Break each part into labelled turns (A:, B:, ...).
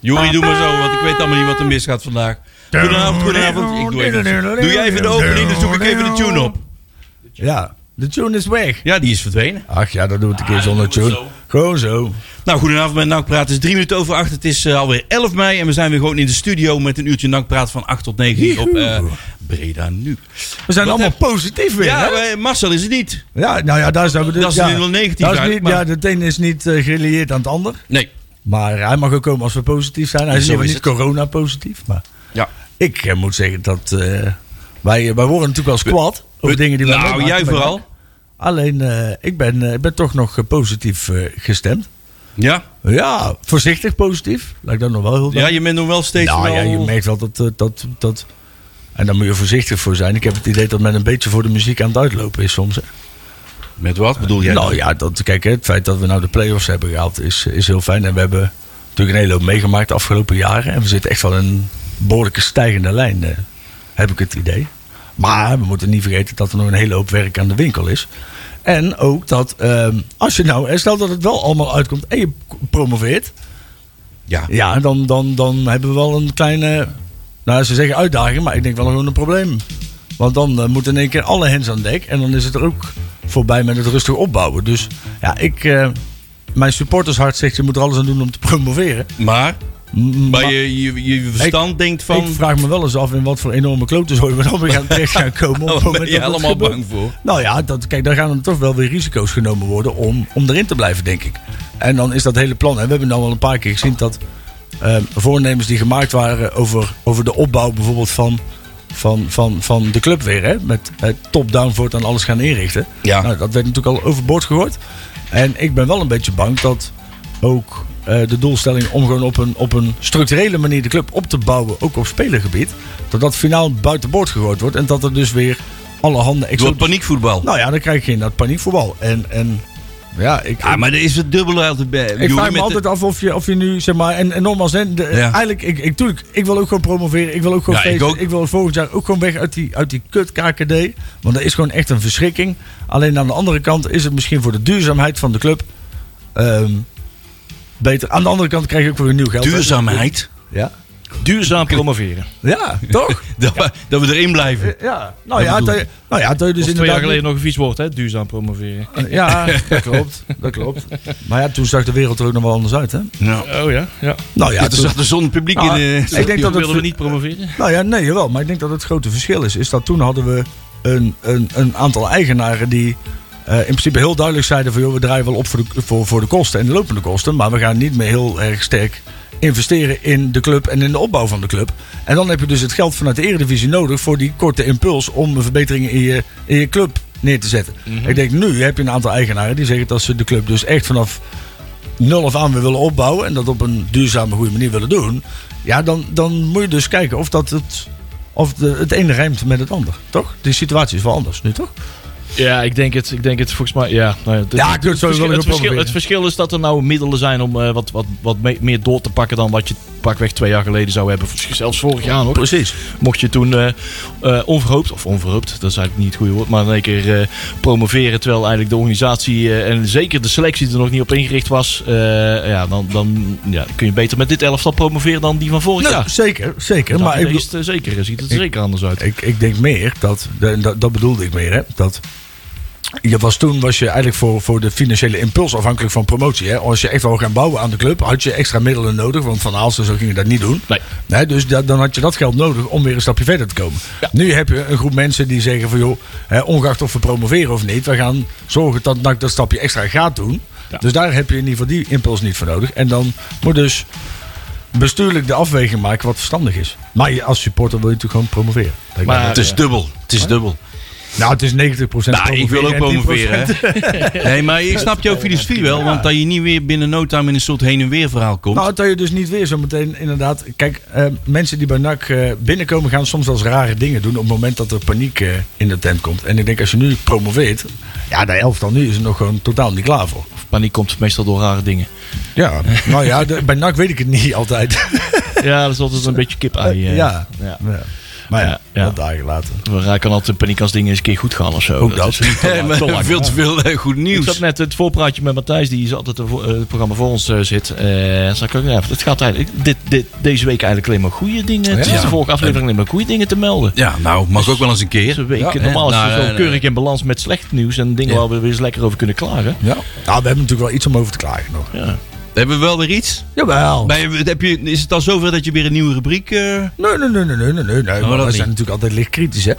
A: Joeri, doe maar zo, want ik weet allemaal niet wat er mis gaat vandaag. Goedenavond, goedenavond. Ik doe, even, doe jij even de opening, dan zoek ik even de tune op.
B: Ja, de tune is weg.
A: Ja, die is verdwenen.
B: Ach ja, dat doe ik een keer
A: Ah,
B: zonder
A: doe het
B: tune. Gewoon zo.
A: Nou, goedenavond met Nakpraat. Het is drie minuten over acht. Het is eh, alweer 11 mei en we zijn weer gewoon in de studio met een uurtje Nakpraat van 8 tot 9 hier op eh, Breda Nu.
B: We zijn
A: Wat
B: allemaal positief weer,
A: Ja,
B: hè?
A: maar Marcel is het niet.
B: Ja, nou ja, daar is dat
A: Dat is
B: ja,
A: nu wel negatief
B: dat is
A: uit,
B: niet,
A: maar-
B: Ja, het een is niet eh, gerelieerd aan het ander.
A: Nee.
B: Maar hij mag ook komen als we positief zijn. Hij is
A: Zo
B: niet,
A: is
B: niet
A: het.
B: corona-positief, maar...
A: Ja.
B: Ik eh, moet zeggen dat eh, wij, wij worden natuurlijk als kwaad over dingen die we
A: Nou,
B: meemaken
A: jij
B: met
A: vooral.
B: Alleen, eh, ik, ben, eh, ik ben toch nog eh, positief eh, gestemd.
A: Ja?
B: Ja, voorzichtig positief. Lijkt dat nog wel heel
A: ja, je bent nog wel steeds
B: nou
A: wel...
B: ja, je merkt wel dat, eh, dat, dat... En daar moet je voorzichtig voor zijn. Ik heb het idee dat men een beetje voor de muziek aan het uitlopen is soms. hè.
A: Met wat bedoel jij?
B: Nou ja, dat, kijk, hè, het feit dat we nou de play-offs hebben gehaald is, is heel fijn. En we hebben natuurlijk een hele hoop meegemaakt de afgelopen jaren. En we zitten echt wel in een behoorlijke stijgende lijn, eh, heb ik het idee. Maar we moeten niet vergeten dat er nog een hele hoop werk aan de winkel is. En ook dat ehm, als je nou, en stel dat het wel allemaal uitkomt en je promoveert.
A: ja.
B: Ja, dan, dan, dan hebben we wel een kleine, nou ze zeggen uitdaging, maar ik denk wel gewoon een probleem. Want dan eh, moeten in één keer alle hens aan dek en dan is het er ook voorbij met het rustig opbouwen. Dus ja, ik, eh, mijn supportershart zegt je moet er alles aan doen om te promoveren.
A: Maar,
B: M-
A: maar
B: maar
A: je, je, je verstand denkt van...
B: Ik vraag me wel eens af in wat voor enorme klotenzooi we dan weer gaan terecht gaan komen. op het
A: Daar
B: moment
A: Oh, ben
B: dat
A: je
B: dat
A: helemaal
B: gebeurt.
A: bang voor.
B: Nou ja, dat, kijk, daar gaan er toch wel weer risico's genomen worden om, om erin te blijven, denk ik. En dan is dat hele plan. En we hebben nou al een paar keer gezien dat eh, voornemens die gemaakt waren over, over de opbouw bijvoorbeeld van, van, van, van de club weer. Hè? Met eh, top-down voor het aan alles gaan inrichten.
A: Ja.
B: Nou, dat werd natuurlijk al overboord gegooid. En ik ben wel een beetje bang dat ook eh, de doelstelling om gewoon op een, op een structurele manier de club op te bouwen, ook op spelergebied, dat dat finaal buitenboord gegooid wordt. En dat er dus weer alle handen
A: Door
B: exotisch
A: paniekvoetbal.
B: nou ja, dan krijg je inderdaad paniekvoetbal. En, en ja, ik,
A: ja, Ah, maar er is het dubbele altijd bij.
B: ik
A: Joeri,
B: vraag
A: met
B: me
A: de-
B: altijd af of je, of je nu, zeg maar, en, en nogmaals, hè, de-
A: Ja.
B: eigenlijk, ik, ik, tuurlijk, ik wil ook gewoon promoveren. Ik wil ook gewoon
A: Ja, ik
B: feesten.
A: ook.
B: Ik, wil volgend jaar ook gewoon weg uit die, uit die kut KKD. Want dat is gewoon echt een verschrikking. Alleen aan de andere kant is het misschien voor de duurzaamheid van de club ehm, beter. Aan de andere kant krijg je ook weer nieuw geld. hè.
A: Duurzaamheid.
B: Ja,
C: Duurzaam promoveren.
B: ja toch?
A: Dat, we, dat we erin blijven.
B: ja. Nou
A: Dat
B: ja,
A: bedoel
B: dat, nou ja, dat je dus
C: Dus twee
B: inderdaad
C: jaar geleden nog een vies woord, hè? Duurzaam promoveren.
B: Ja, dat klopt. Dat klopt. Maar ja, toen zag de wereld er ook nog wel anders uit, hè?
A: Nou,
C: Oh ja, ja.
B: Nou
A: ja,
B: ja,
A: toen
B: toen-
A: zat er zonder publiek
B: Nou,
A: in de...
B: ik denk dat het
C: wilden we niet promoveren.
B: Nou ja, nee, jawel. Maar ik denk dat het grote verschil is. Is dat toen hadden we een, een, een aantal eigenaren die eh, in principe heel duidelijk zeiden van... joh, we draaien wel op voor de, voor, voor de kosten en de lopende kosten. Maar we gaan niet meer heel erg sterk investeren in de club en in de opbouw van de club. En dan heb je dus het geld vanuit de eredivisie nodig... voor die korte impuls om verbeteringen in je, in je club neer te zetten. Ik denk, nu heb je een aantal eigenaren die zeggen dat ze de club dus echt vanaf nul af aan weer willen opbouwen en dat op een duurzame goede manier willen doen, ja, dan, dan moet je dus kijken of dat het. Of de, het ene rijmt met het ander, toch? De situatie is wel anders nu, toch?
C: Ja, ik denk het. Ik denk het volgens mij. Ja, nou ja, dit-
B: Ja, ik doe het zo
C: het,
B: wel
C: verschil,
B: weer
C: het, verschil,
B: proberen.
C: het verschil is dat er nou middelen zijn om eh, wat, wat, wat me- meer door te pakken dan wat je pakweg twee jaar geleden zou hebben. Zelfs vorig jaar nog.
B: Precies.
C: Mocht je toen eh, eh, onverhoopt, of onverhoopt, dat is eigenlijk niet het goede woord, maar in één keer eh, promoveren terwijl eigenlijk de organisatie eh, en zeker de selectie er nog niet op ingericht was, eh, ja, dan, dan ja, kun je beter met dit elftal promoveren dan die van vorig
B: Nou,
C: jaar.
B: Zeker, zeker.
C: Maar
B: maar ik, bedoel-
C: is het, eh, zeker, ziet het er
B: ik-
C: zeker anders uit.
B: ik, ik denk meer dat, en dat, dat bedoelde ik meer, hè? Dat je was toen was je eigenlijk voor, voor de financiële impuls afhankelijk van promotie. Hè? Als je echt wil gaan bouwen aan de club, had je extra middelen nodig, want van Aalst en zo gingen dat niet doen.
C: Nee.
B: Nee, dus da- dan had je dat geld nodig om weer een stapje verder te komen.
C: Ja.
B: Nu heb je een groep mensen die zeggen van joh, hè, ongeacht of we promoveren of niet, we gaan zorgen dat NAC dat stapje extra gaat doen.
C: Ja.
B: Dus daar heb je in ieder geval die impuls niet voor nodig. En dan moet dus bestuurlijk de afweging maken wat verstandig is. Maar je- als supporter wil je natuurlijk gewoon promoveren. Dat
C: Maar-
B: maar, eh,
A: Het is dubbel. Het is dubbel.
B: nou, het is 90%
A: Nou, ik wil ook
B: promoveren. en 10%
A: promoveren. hè. Nee, maar ik snap jouw filosofie wel. Want dat je niet weer binnen no time in een soort heen en weer verhaal komt.
B: Nou, dat je dus niet weer zometeen inderdaad... Kijk, eh, mensen die bij NAC eh, binnenkomen gaan soms wel eens rare dingen doen... op het moment dat er paniek eh, in de tent komt. En ik denk, als je nu promoveert... Ja, de elftal nu is er nog gewoon totaal niet klaar voor.
C: Paniek komt meestal door rare dingen.
B: Ja, nou ja, de- bij NAC weet ik het niet altijd.
C: Ja, dat is altijd een beetje kip-ei. eh.
B: ja.
C: ja.
B: Ja. Maar ja,
C: Ja, ja.
B: dat dagen later.
C: We raken altijd in paniek als dingen eens een keer goed gaan of zo.
B: Ook dat.
C: is niet te lang- te lang.
A: eh, veel te veel eh, goed
C: Ik
A: nieuws.
C: zat net het voorpraatje met Matthijs, die is altijd het het programma voor ons eh, zit. Eh, zei ik ook, ja, het gaat eigenlijk dit, dit, deze week eigenlijk alleen maar goede dingen. Het is
A: Ja.
C: de vorige aflevering alleen maar goede dingen te melden.
A: Ja, nou, mag ook wel eens een
C: Is
A: keer.
C: een week,
B: Ja, hè?
C: normaal is het
A: Nou,
C: zo
A: eh,
C: keurig in balans met slecht nieuws en dingen
A: Ja.
C: waar we weer eens lekker over kunnen klagen.
B: Ja. Nou, we hebben natuurlijk wel iets om over te klagen nog.
C: Ja.
A: Hebben we wel weer iets?
B: Jawel.
A: Ben je, heb je, is het al zover dat je weer een nieuwe rubriek... eh,
B: Nee, nee, nee, nee, nee, nee. nee. maar
A: dat
B: we
A: niet.
B: zijn natuurlijk altijd licht kritisch, hè.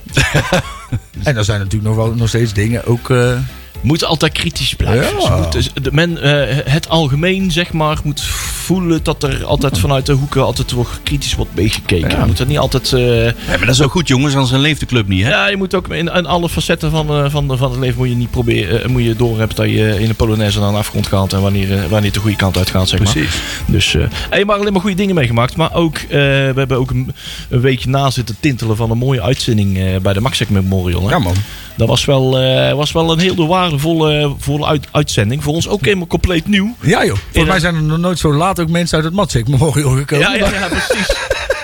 B: en er zijn natuurlijk nog, wel, nog steeds dingen ook... eh,
C: Moet altijd kritisch blijven.
B: Ja.
C: Ze moet- dus de- men, eh, het algemeen, zeg maar, moet voelen dat er altijd vanuit de hoeken altijd wordt kritisch wordt meegekeken.
B: Ja.
C: Je moet er niet altijd... eh,
A: Ja, maar dat is ook goed, jongens, anders leeft de club niet, hè?
C: Ja, je moet ook in, in alle facetten van, eh, van, van het leven moet je niet proberen. eh, moet je doorhebben dat je in de Polonaise naar een afgrond gaat en wanneer, eh, wanneer het de goede kant uit gaat. Zeg maar. Dus eh hey, maar alleen maar goede dingen meegemaakt. Maar ook, eh, we hebben ook een, een weekje na zitten tintelen van een mooie uitzending eh, bij de Maxec Memorial. Hè?
B: Ja, man.
C: Dat was wel, eh, was wel een heel waardevolle volle uit- uitzending. Voor ons ook helemaal compleet nieuw.
B: Ja, joh. Volgens
C: In-
B: mij zijn er nog nooit zo laat ook mensen uit het Matsik Memorial gekomen.
C: Ja, ja, ja, precies.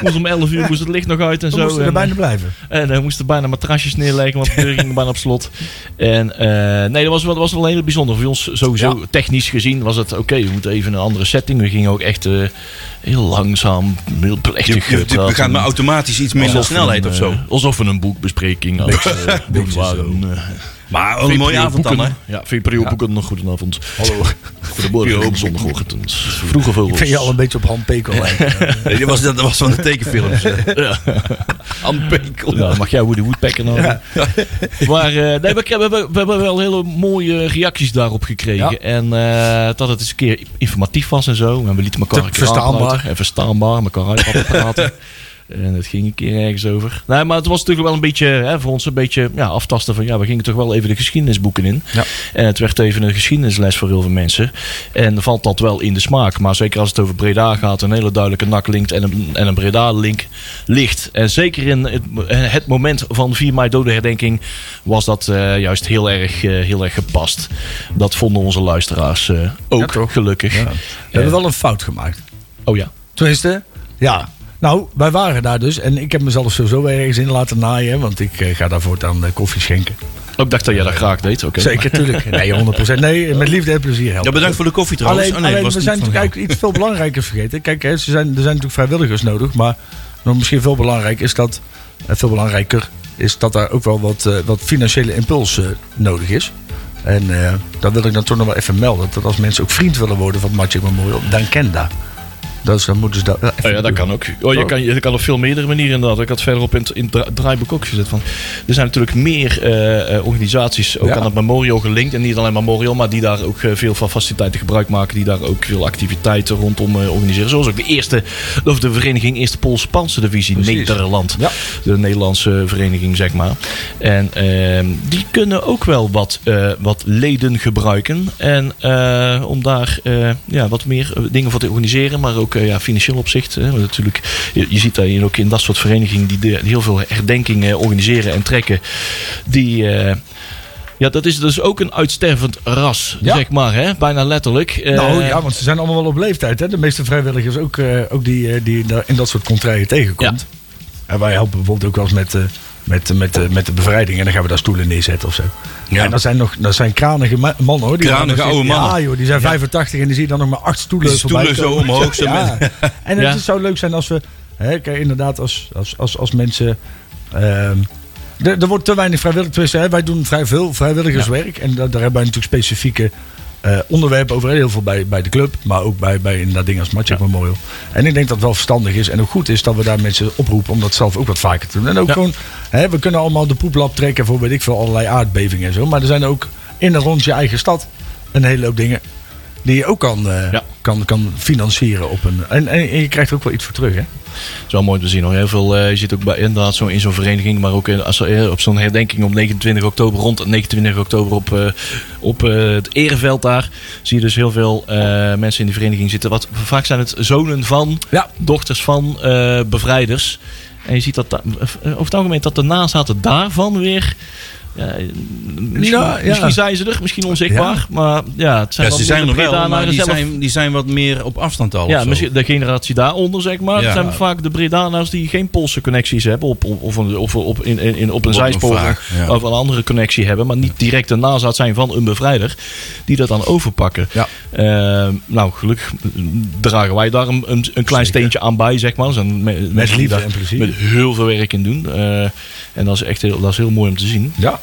C: Moest om 11 uur moest het licht nog uit en
B: We
C: zo. eh,
B: moesten
C: En,
B: er bijna blijven.
C: En hij moest er Eh, bijna matrasjes neerleggen, want de deur ging bijna op slot. En eh, nee, dat was, wel, dat was wel heel bijzonder. Voor ons sowieso technisch gezien was het oké. we moeten even een andere setting. We gingen ook echt eh, heel langzaam, heel
A: Je-
C: plechtig.
A: je-
C: eh,
A: we
C: praten.
A: gaan maar automatisch iets minder
C: Alsof
A: snelheid
C: we
A: of
C: een,
A: zo.
C: eh, alsof we een boekbespreking aan het eh, doen
B: beetje
C: waren. Eh,
A: Maar wel een mooie
C: VPRO
A: avond dan, hè?
C: boeken. Ja, VPRO boeken nog goedenavond.
B: Hallo.
C: Goedemorgen, zondagochtend. Vroege
B: Ik
C: vogels.
B: vind je al een beetje op Han Pekel lijken.
A: Nee, Dat was, dat was van de tekenfilms.
C: Ja.
A: Ampekel.
C: Ja, dan mag jij Woody Woodpecker nou. Maar eh, nee, we, we, hebben- we hebben wel hele mooie reacties daarop gekregen.
B: Ja.
C: En eh, dat het eens een keer informatief was en zo. En we lieten elkaar
B: Te
C: een keer
B: verstaanbaar.
C: aanpraten. En verstaanbaar, elkaar uit praten. En het ging een keer ergens over. Nee, maar het was natuurlijk wel een beetje, hè, voor ons een beetje ja, aftasten van... ja, we gingen toch wel even de geschiedenisboeken in.
B: Ja.
C: En het werd even een geschiedenisles voor heel veel mensen. En valt dat wel in de smaak. Maar zeker als het over Breda gaat, een hele duidelijke nak linkt en een, en een Breda-link ligt. En zeker in het, eh, het moment van 4 mei dodenherdenking was dat eh, juist heel erg, eh, heel erg gepast. Dat vonden onze luisteraars eh,
B: Ja,
C: ook,
B: toch?
C: gelukkig.
B: Ja. We hebben wel een fout gemaakt.
C: Oh ja.
B: Tenminste, ja. Nou, wij waren daar dus. En ik heb mezelf sowieso ergens in laten naaien. hè, Want ik eh, ga daar voortaan eh, koffie schenken.
C: Ook dacht dat jij dat graag deed. Oké.
B: Zeker, tuurlijk. Nee, 100%. Nee, met liefde en plezier helpen.
A: Ja, bedankt voor de koffie trouwens.
B: Alleen,
A: Oh, nee,
B: alleen,
A: was
B: we
A: niet
B: zijn
A: van
B: natuurlijk
A: jou.
B: eigenlijk iets veel belangrijkers vergeten. Kijk, hè, ze zijn, er zijn natuurlijk vrijwilligers nodig. Maar nog misschien veel belangrijker is dat... eh, veel belangrijker is dat daar ook wel wat, eh, wat financiële impuls eh, nodig is. En eh, dat wil ik dan toch nog wel even melden. Dat als mensen ook vriend willen worden van Magic Memorial, dan ken dat. Dus dan moeten ze dat wel even
C: Oh ja, dat
B: doen.
C: kan ook. Oh, je,
B: Oh.
C: kan, je kan op veel meerdere manieren inderdaad. Ik had verderop in het, in het dra- draaiboek ook gezet van... Er zijn natuurlijk meer eh, eh, organisaties ook
B: Ja.
C: aan het Memorial gelinkt. En niet alleen Memorial, maar die daar ook eh, veel van faciliteiten gebruik maken. Die daar ook veel activiteiten rondom eh, organiseren. Zoals ook de eerste, of de vereniging Eerste Poolse Panzerdivisie
B: Precies.
C: Nederland.
B: Ja.
C: De Nederlandse vereniging, zeg maar. En ehm, die kunnen ook wel wat, eh, wat leden gebruiken. En eh, om daar eh, ja, wat meer eh, dingen voor te organiseren. Maar ook eh, ja, financieel opzicht. Hè, want natuurlijk, je, je ziet daarin ook in dat soort verenigingen die, de- die heel veel herdenkingen organiseren en trekken. Die. eh, ja, dat is dus ook een uitstervend ras,
B: Ja.
C: zeg maar, hè? bijna letterlijk.
B: Nou
C: Eh,
B: ja, want ze zijn allemaal wel op leeftijd. Hè? De meeste vrijwilligers ook, eh, ook die, eh, die daar in dat soort contraien tegenkomt. En wij helpen bijvoorbeeld ook wel eens met, eh, met, met, eh, met de bevrijding. En dan gaan we daar stoelen neerzetten of zo.
A: Ja.
B: En dat zijn, nog, dat zijn kranige ma- mannen hoor. Die
A: Kranige
B: gaan nog steeds-
A: oude mannen.
B: Ja joh, die zijn 85 en die zie je dan nog maar acht stoelen
A: Die stoelen
B: voorbij komen.
A: zo omhoog, zo
B: Ja. En het
C: Ja.
B: is- zou leuk zijn als we... Hè, kijk, inderdaad, als, als, als, als mensen... ehm, er, er wordt te weinig vrijwilligers. Hè? Wij doen vrij veel vrijwilligerswerk. En da- daar hebben wij natuurlijk specifieke eh, onderwerpen over. Heel veel bij, bij de club. Maar ook bij, bij inderdaad dingen als Magic
C: Ja.
B: Memorial. En ik denk dat het wel verstandig is. En ook goed is dat we daar mensen oproepen. Om dat zelf ook wat vaker te doen. En ook
C: Ja.
B: gewoon... Hè, we kunnen allemaal de poeplap trekken voor weet ik veel allerlei aardbevingen en zo. Maar er zijn ook in en rond je eigen stad een hele hoop dingen. Die je ook kan, eh,
C: Ja.
B: kan, kan financieren op een. En, en, en je krijgt er ook wel iets voor terug, hè?
C: Het is wel mooi om te zien hoor. Heel veel, eh, je zit ook bij, inderdaad zo in zo'n vereniging, maar ook in, als, er, eh, op zo'n herdenking op 29 oktober, rond 29 oktober op, eh, op eh, het Ereveld daar, zie je dus heel veel eh, mensen in die vereniging zitten. Wat, vaak zijn het zonen van,
B: Ja.
C: dochters van eh, bevrijders. En je ziet dat da- eh, over het algemeen dat de nazaten daarvan weer Ja, misschien,
B: Ja, ja.
C: misschien zijn ze er, misschien onzichtbaar. Maar ja, het zijn
A: Ja,
C: dan
A: ze zijn
C: de
A: er wel, maar
C: Bredanaren
A: die
C: zelf.
A: zijn, die zijn wat meer op afstand al. of
C: ja,
A: zo.
C: misschien de generatie daaronder, zeg maar.
A: Ja.
C: Het zijn vaak de Bredaners die geen Poolse connecties hebben. Op, op, of een, of, op, in, in, in- op een
A: Op een
C: zijspoor
A: vraag, ja.
C: of een andere connectie hebben. Maar niet direct een nazaat zijn van een bevrijder. Die dat dan overpakken.
A: Ja.
C: Ehm, nou, gelukkig mm, dragen wij daar een, een, een klein steentje aan bij, zeg maar. Er Zijn me- mensen die
B: liefde
C: daar
B: en plezier.
C: Met heel veel werk in doen. Eh, en dat is echt heel, dat is heel mooi om te zien.
B: Ja.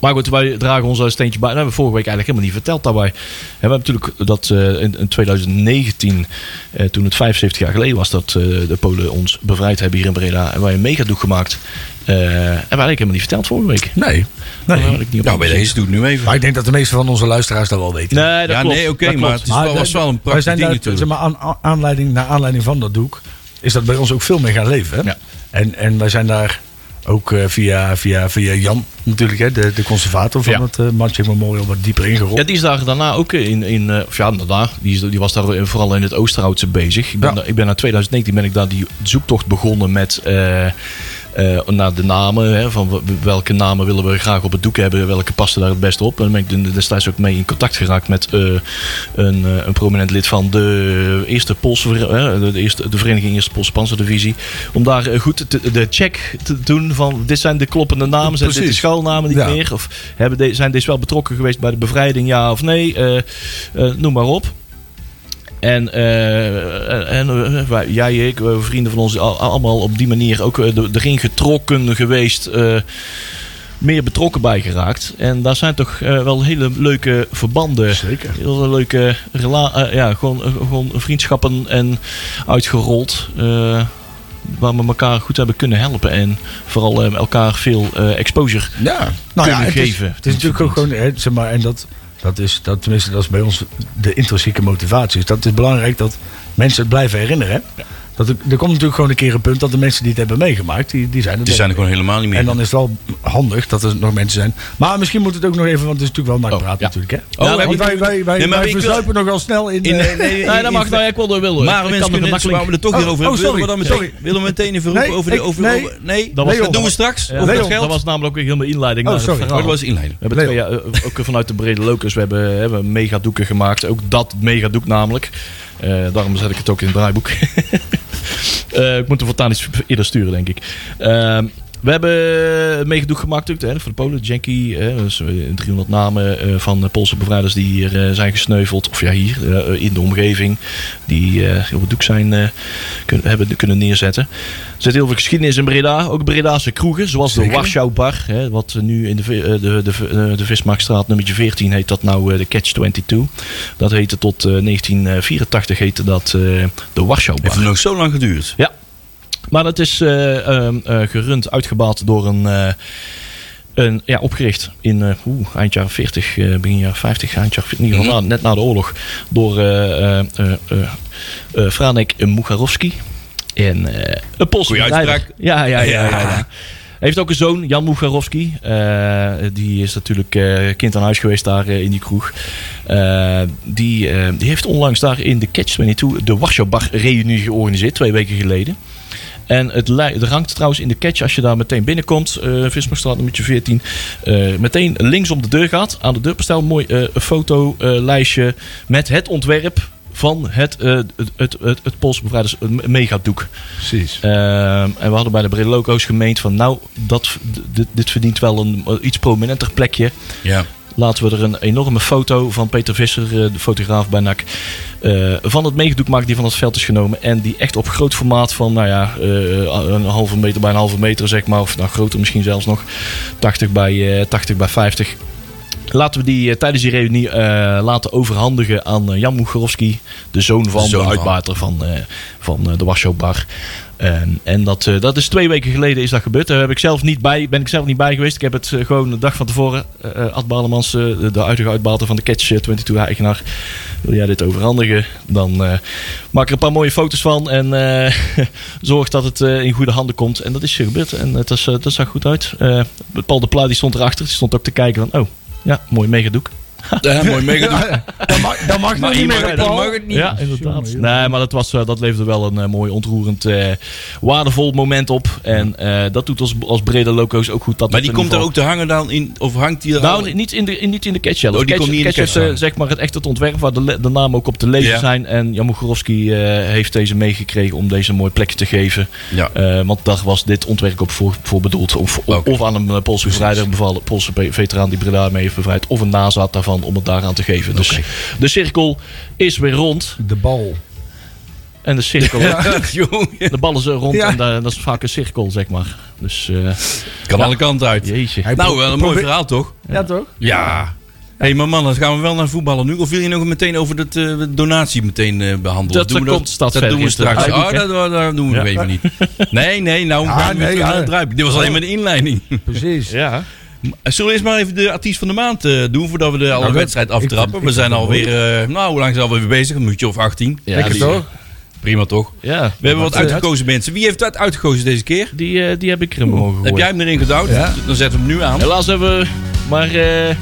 C: Maar goed, wij dragen ons daar een steentje bij. Dat hebben we vorige week eigenlijk helemaal niet verteld daarbij. En we hebben natuurlijk dat eh, in, in 2019, eh, toen het 75 jaar geleden was dat eh, de Polen ons bevrijd hebben hier in Breda. En wij een megadoek gemaakt. Eh hebben we eigenlijk helemaal niet verteld vorige week.
B: Nee.
C: Daar
B: nee.
C: had ik niet op
A: Nou, bij
C: ingezet.
A: deze doe ik nu even.
B: Maar ik denk dat de meeste van onze luisteraars dat wel weten. Dus
C: Nee, dat
A: ja,
C: klopt.
A: nee, oké,
C: Dat
A: maar
C: klopt.
A: het is wel, was wel een
B: Wij
A: prachtig
B: zijn
A: ding
B: daar,
A: natuurlijk.
B: zeg maar, aan, aan- aanleiding, naar aanleiding van dat doek is dat bij ons ook veel meer gaan leven. Hè?
C: Ja.
B: En, en wij zijn daar ook eh, via, via, via Jan natuurlijk, hè, de, de conservator van
C: Ja.
B: het eh Marching Memorial, wat dieper ingerold.
C: Ja, die is daar daarna ook in, in eh, of ja, daarna, die, is- die was daar eh, vooral in het Oosterhoutse bezig. Ik ben,
B: Ja.
C: daar- ik ben in 2019 ben ik daar die zoektocht begonnen met eh, eh, naar de namen. Hè, van w- welke namen willen we graag op het doek hebben, welke passen daar het best op. En daar ben ik de- destijds ook mee in contact geraakt met eh, een, eh, een prominent lid van de eerste Poolse, ver- eh, de, de eerste, de vereniging Eerste Poolse Panzerdivisie. Om daar eh, goed te- de check te doen van dit zijn de kloppende namen, zijn dit de
B: Precies.
C: schuilnamen niet
B: Ja.
C: meer. Of hebben de- zijn deze wel betrokken geweest bij de bevrijding, ja of nee? Eh, eh, noem maar op. En, eh, en eh, wij- jij, ik, eh, vrienden van ons, al- allemaal op die manier ook eh, de- erin getrokken geweest. eh, meer betrokken bij geraakt. En daar zijn toch eh, wel hele leuke verbanden.
B: Zeker.
C: Hele leuke rela eh, ja, gewoon, eh, gewoon vriendschappen en uitgerold. eh, waar we elkaar goed hebben kunnen helpen. En vooral eh, elkaar veel eh, exposure
B: Ja, nou ja,
C: kunnen
B: het is,
C: geven.
B: het is natuurlijk ook gewoon, hè, zeg maar, en dat, dat is, dat, tenminste, dat is bij ons de intrinsieke motivatie. Dus dat is belangrijk dat mensen het blijven herinneren. hè. Dat er, er komt natuurlijk gewoon een keer een punt dat de mensen die het hebben meegemaakt, die, die zijn er
A: Die
B: dan.
A: zijn er gewoon helemaal niet meer.
B: En dan is het wel handig dat er nog mensen zijn. Maar misschien moet het ook nog even, want het is natuurlijk wel
C: Oh,
B: naar praten
C: ja.
B: natuurlijk. Hè?
A: Oh,
B: Want
A: heb je-
B: wij, wij, wij,
A: Nee, maar
B: wij
A: ik wil-
B: verzuipen nogal snel in...
A: In-
B: eh,
A: nee, nee,
C: Nee, dat mag. Nou, ja, ik wilde er wel.
A: Maar mensen kunnen het waar we er toch
B: Oh,
A: weer over
B: oh,
A: hebben. willen, we dan
B: sorry,
A: meteen,
B: sorry.
A: willen we meteen even roepen
B: Nee,
A: over de...
B: ik-
A: Over,
B: nee.
A: over- nee,
C: Dat was-
A: dat
B: Leon.
A: doen we straks.
C: Ja,
A: over
B: Leon.
A: dat
C: dat,
A: geld.
C: was namelijk ook weer helemaal de inleiding
B: Oh,
C: naar
B: sorry.
C: het
A: Oh,
C: verhaal.
A: dat was inleiding.
C: We hebben twee jaar, eh, ook vanuit de brede locus, we hebben, eh, hebben megadoeken gemaakt. Ook dat megadoek namelijk. Eh, daarom zet ik het ook in het draaiboek. Eh, ik moet er voortaan iets eerder sturen, denk ik. Ehm, we hebben meegedoek gemaakt natuurlijk, hè, voor de Polen. Janky, hè, dus, eh, 300 namen eh, van de Poolse bevrijders die hier eh, zijn gesneuveld. Of ja, hier eh, in de omgeving. Die eh, op het doek zijn eh, kun- hebben kunnen neerzetten. Er zit heel veel geschiedenis in Breda. Ook Bredaanse kroegen, zoals de
B: Zeker.
C: Warschau Bar. Hè, wat nu in de, vi- eh, de, de, eh, de Vismarktstraat nummer 14 heet dat nou eh, de Catch 22. Dat heette tot eh, 1984 heette dat eh, de Warschau Bar.
A: Heeft het nog zo lang geduurd?
C: Ja. Maar dat is eh, ehm, eh, gerund, uitgebaat door een. eh, een ja, opgericht in eh, oeh, eind jaren 40, eh, begin jaren 50, eind jaren, in ieder geval
A: Mhm.
C: na- net na de oorlog. Door eh eh eh eh, eh, Franek Mucharowski. En eh een Poolse
A: Goeie
C: bedrijver.
A: uitspraak.
C: Ja, ja, ja. ja, ja,
A: Ja.
C: Heeft ook een zoon, Jan Mucharowski. Eh, die is natuurlijk eh, kind aan huis geweest daar eh, in die kroeg. Eh, die, eh, die heeft onlangs daar in de Catch 22 de Warschau Bar reunie georganiseerd, twee weken geleden. En het, lij- het rankt trouwens in de catch als je daar meteen binnenkomt. eh Vismarstraat nummer 14. eh, meteen links om de deur gaat. Aan de deurpastel mooi eh, een fotolijstje met het ontwerp van het, eh, het, het, het, het Poolse bevrijders het megadoek.
B: Precies.
C: Ehm, en we hadden bij de Brede Loco's gemeend van nou, dat, dit, dit verdient wel een eh, iets prominenter plekje.
A: Ja.
C: Laten we er een enorme foto van Peter Visser, eh, de fotograaf bij NAC, eh, van het meegedoek maken die van het veld is genomen. En die echt op groot formaat van, nou ja, eh, een halve meter bij een halve meter zeg maar. Of nou groter misschien zelfs nog. 80 bij, eh, 80 bij 50. Laten we die eh, tijdens die reunie eh, laten overhandigen aan eh, Jan Mucharowski, de zoon van
A: De
C: de,
A: zoon van.
C: uitbater van, eh, van eh, de Warschau Bar. En, en dat, eh, dat is twee weken geleden is dat gebeurd. Daar heb ik zelf niet bij, ben ik zelf niet bij geweest. Ik heb het eh, gewoon de dag van tevoren. eh, eh, Ad Balemans, eh, de, de huidige uitbater van de Catch eh, 22-eigenaar. Wil jij dit overhandigen? Dan eh, maak er een paar mooie foto's van. En eh, zorg dat het eh, in goede handen komt. En dat is gebeurd. En het is, eh, dat zag goed uit. Eh, Paul de Pla die stond erachter. Die stond ook te kijken van... Oh, ja, mooi megadoek.
A: Ja, mooi meegedoen.
B: Dat mag, dat mag nog niet meer.
A: dan mag het niet.
C: Ja, inderdaad. Nee, maar dat, was, eh, dat leverde wel een eh, mooi, ontroerend, eh, waardevol moment op. En eh, dat doet ons als brede loco's ook goed. Dat
A: Maar
C: op
A: die
C: een
A: komt er
C: niveau-
A: ook te hangen dan in, of hangt die er al
C: Nou,
A: in?
C: niet in de, in- niet in de catch zelf.
A: Oh, die
C: Catch-
A: komt niet in de
C: catch
A: catch
C: heeft, eh,
A: aan.
C: zeg maar het echt het ontwerp waar de, le- de namen ook op te lezen
A: Ja.
C: zijn. En Jan Mochorowski eh, heeft deze meegekregen om deze een mooi plekje te geven.
A: Ja.
C: Eh, want daar was dit ontwerp ook voor, voor bedoeld. Om, om-
A: Oké.
C: Of aan een eh, Poolse bevrijder bevallen, Poolse pe- veteraan die Breda mee heeft bevrijd. Of een nazaat daarvan om het daaraan te geven. Dus de cirkel is weer rond.
B: De bal.
C: En de cirkel...
A: Jongen,
C: De ballen zijn rond
B: Ja.
C: en da- dat is vaak een cirkel, zeg maar. Dus, eh,
A: kan alle kanten uit.
C: jeetje.
B: Hij
A: Nou,
B: pro-
A: wel een mooi
B: probeer-
A: verhaal toch?
B: Ja, toch?
A: Ja. Hé, hey, maar man, dan gaan we wel naar voetballen nu. Of wil je nog meteen over dat eh, donatie meteen eh, behandelen?
C: Dat
A: Of doen we
C: komt stads
A: dat
C: verder
A: doen we
C: in de
A: straks.
C: uithoek,
A: Oh,
C: hè?
A: dat, dat- dat doen we
C: Ja.
A: nog even niet. Nee, nee, nou
B: Ja,
A: gaan we
B: nee,
A: terug
B: ja.
A: naar het druip. Dit was alleen maar de inleiding.
B: Precies.
C: Ja.
A: Zullen we eerst maar even de artiest van de maand eh, doen voordat we de alle
B: Nou, dat-
A: wedstrijd
B: ik vind-
A: aftrappen?
B: ik
A: we
B: vind
A: zijn
B: het
A: alweer, eh nou, hoe lang zijn we alweer bezig? Een minuutje of 18.
C: Ja,
B: Lekker
C: die-
B: toch?
A: Prima toch?
C: Ja.
A: We hebben wat
B: eh,
A: uitgekozen mensen. Wie heeft dat uitgekozen deze keer?
C: Die, eh, die heb ik erin mogen gooien.
A: Heb jij hem erin gedouwd?
B: Ja.
A: Dan zetten we hem nu aan.
C: Helaas hebben we maar eh,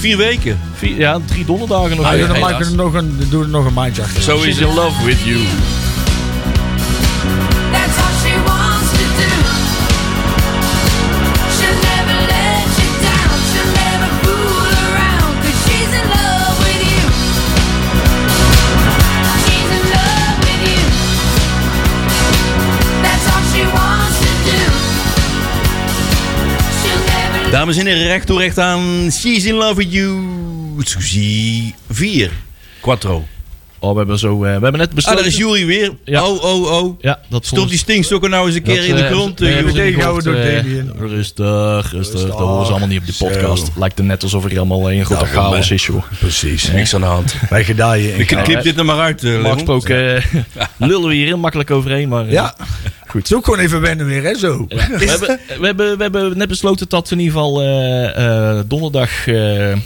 A: Vier weken.
C: vier, ja, drie donderdagen nog.
A: Ah,
B: Nou,
C: Eh,
B: joh, dan
C: helaas.
B: maken we er nog een, doen er nog een maandje achter.
A: Zo is
C: She's
A: het.
C: in love with you.
D: That's all she wants to do. She'll never let you down. She'll never fool around. 'Cause she's in love with you. She's in love with you. That's all she wants to do. She'll never
A: Dames en heren, recht toe recht aan. She's in love with you. Suzy 4. Quattro.
C: Oh, we hebben zo. eh, we hebben net
A: Ah,
C: besteld.
A: daar is Jury weer.
C: Ja.
A: Oh, oh, oh.
C: Ja, dat
A: Stop die stinkstokken nou eens een keer in de grond, eh, Jury.
B: tegenhouden door Damien.
C: Damien. eh, Rustig, rustig. Dat horen ze allemaal niet op de podcast. Lijkt het net alsof er helemaal een grote
A: Ja, kom,
C: chaos
A: hè.
C: is, joh.
A: Precies. Niks aan de hand.
B: Wij gedaaien in
A: Ik
B: Gouden.
A: knip dit er maar uit, eh,
C: Normaal
A: Leon.
C: gesproken eh, lullen we hier heel makkelijk overheen, maar... eh,
B: Ja.
C: Goed.
B: Zo gewoon even wennen weer, hè, zo.
C: Ja. We, hebben, we, hebben, we hebben net besloten dat we in ieder geval eh, eh, donderdag eh,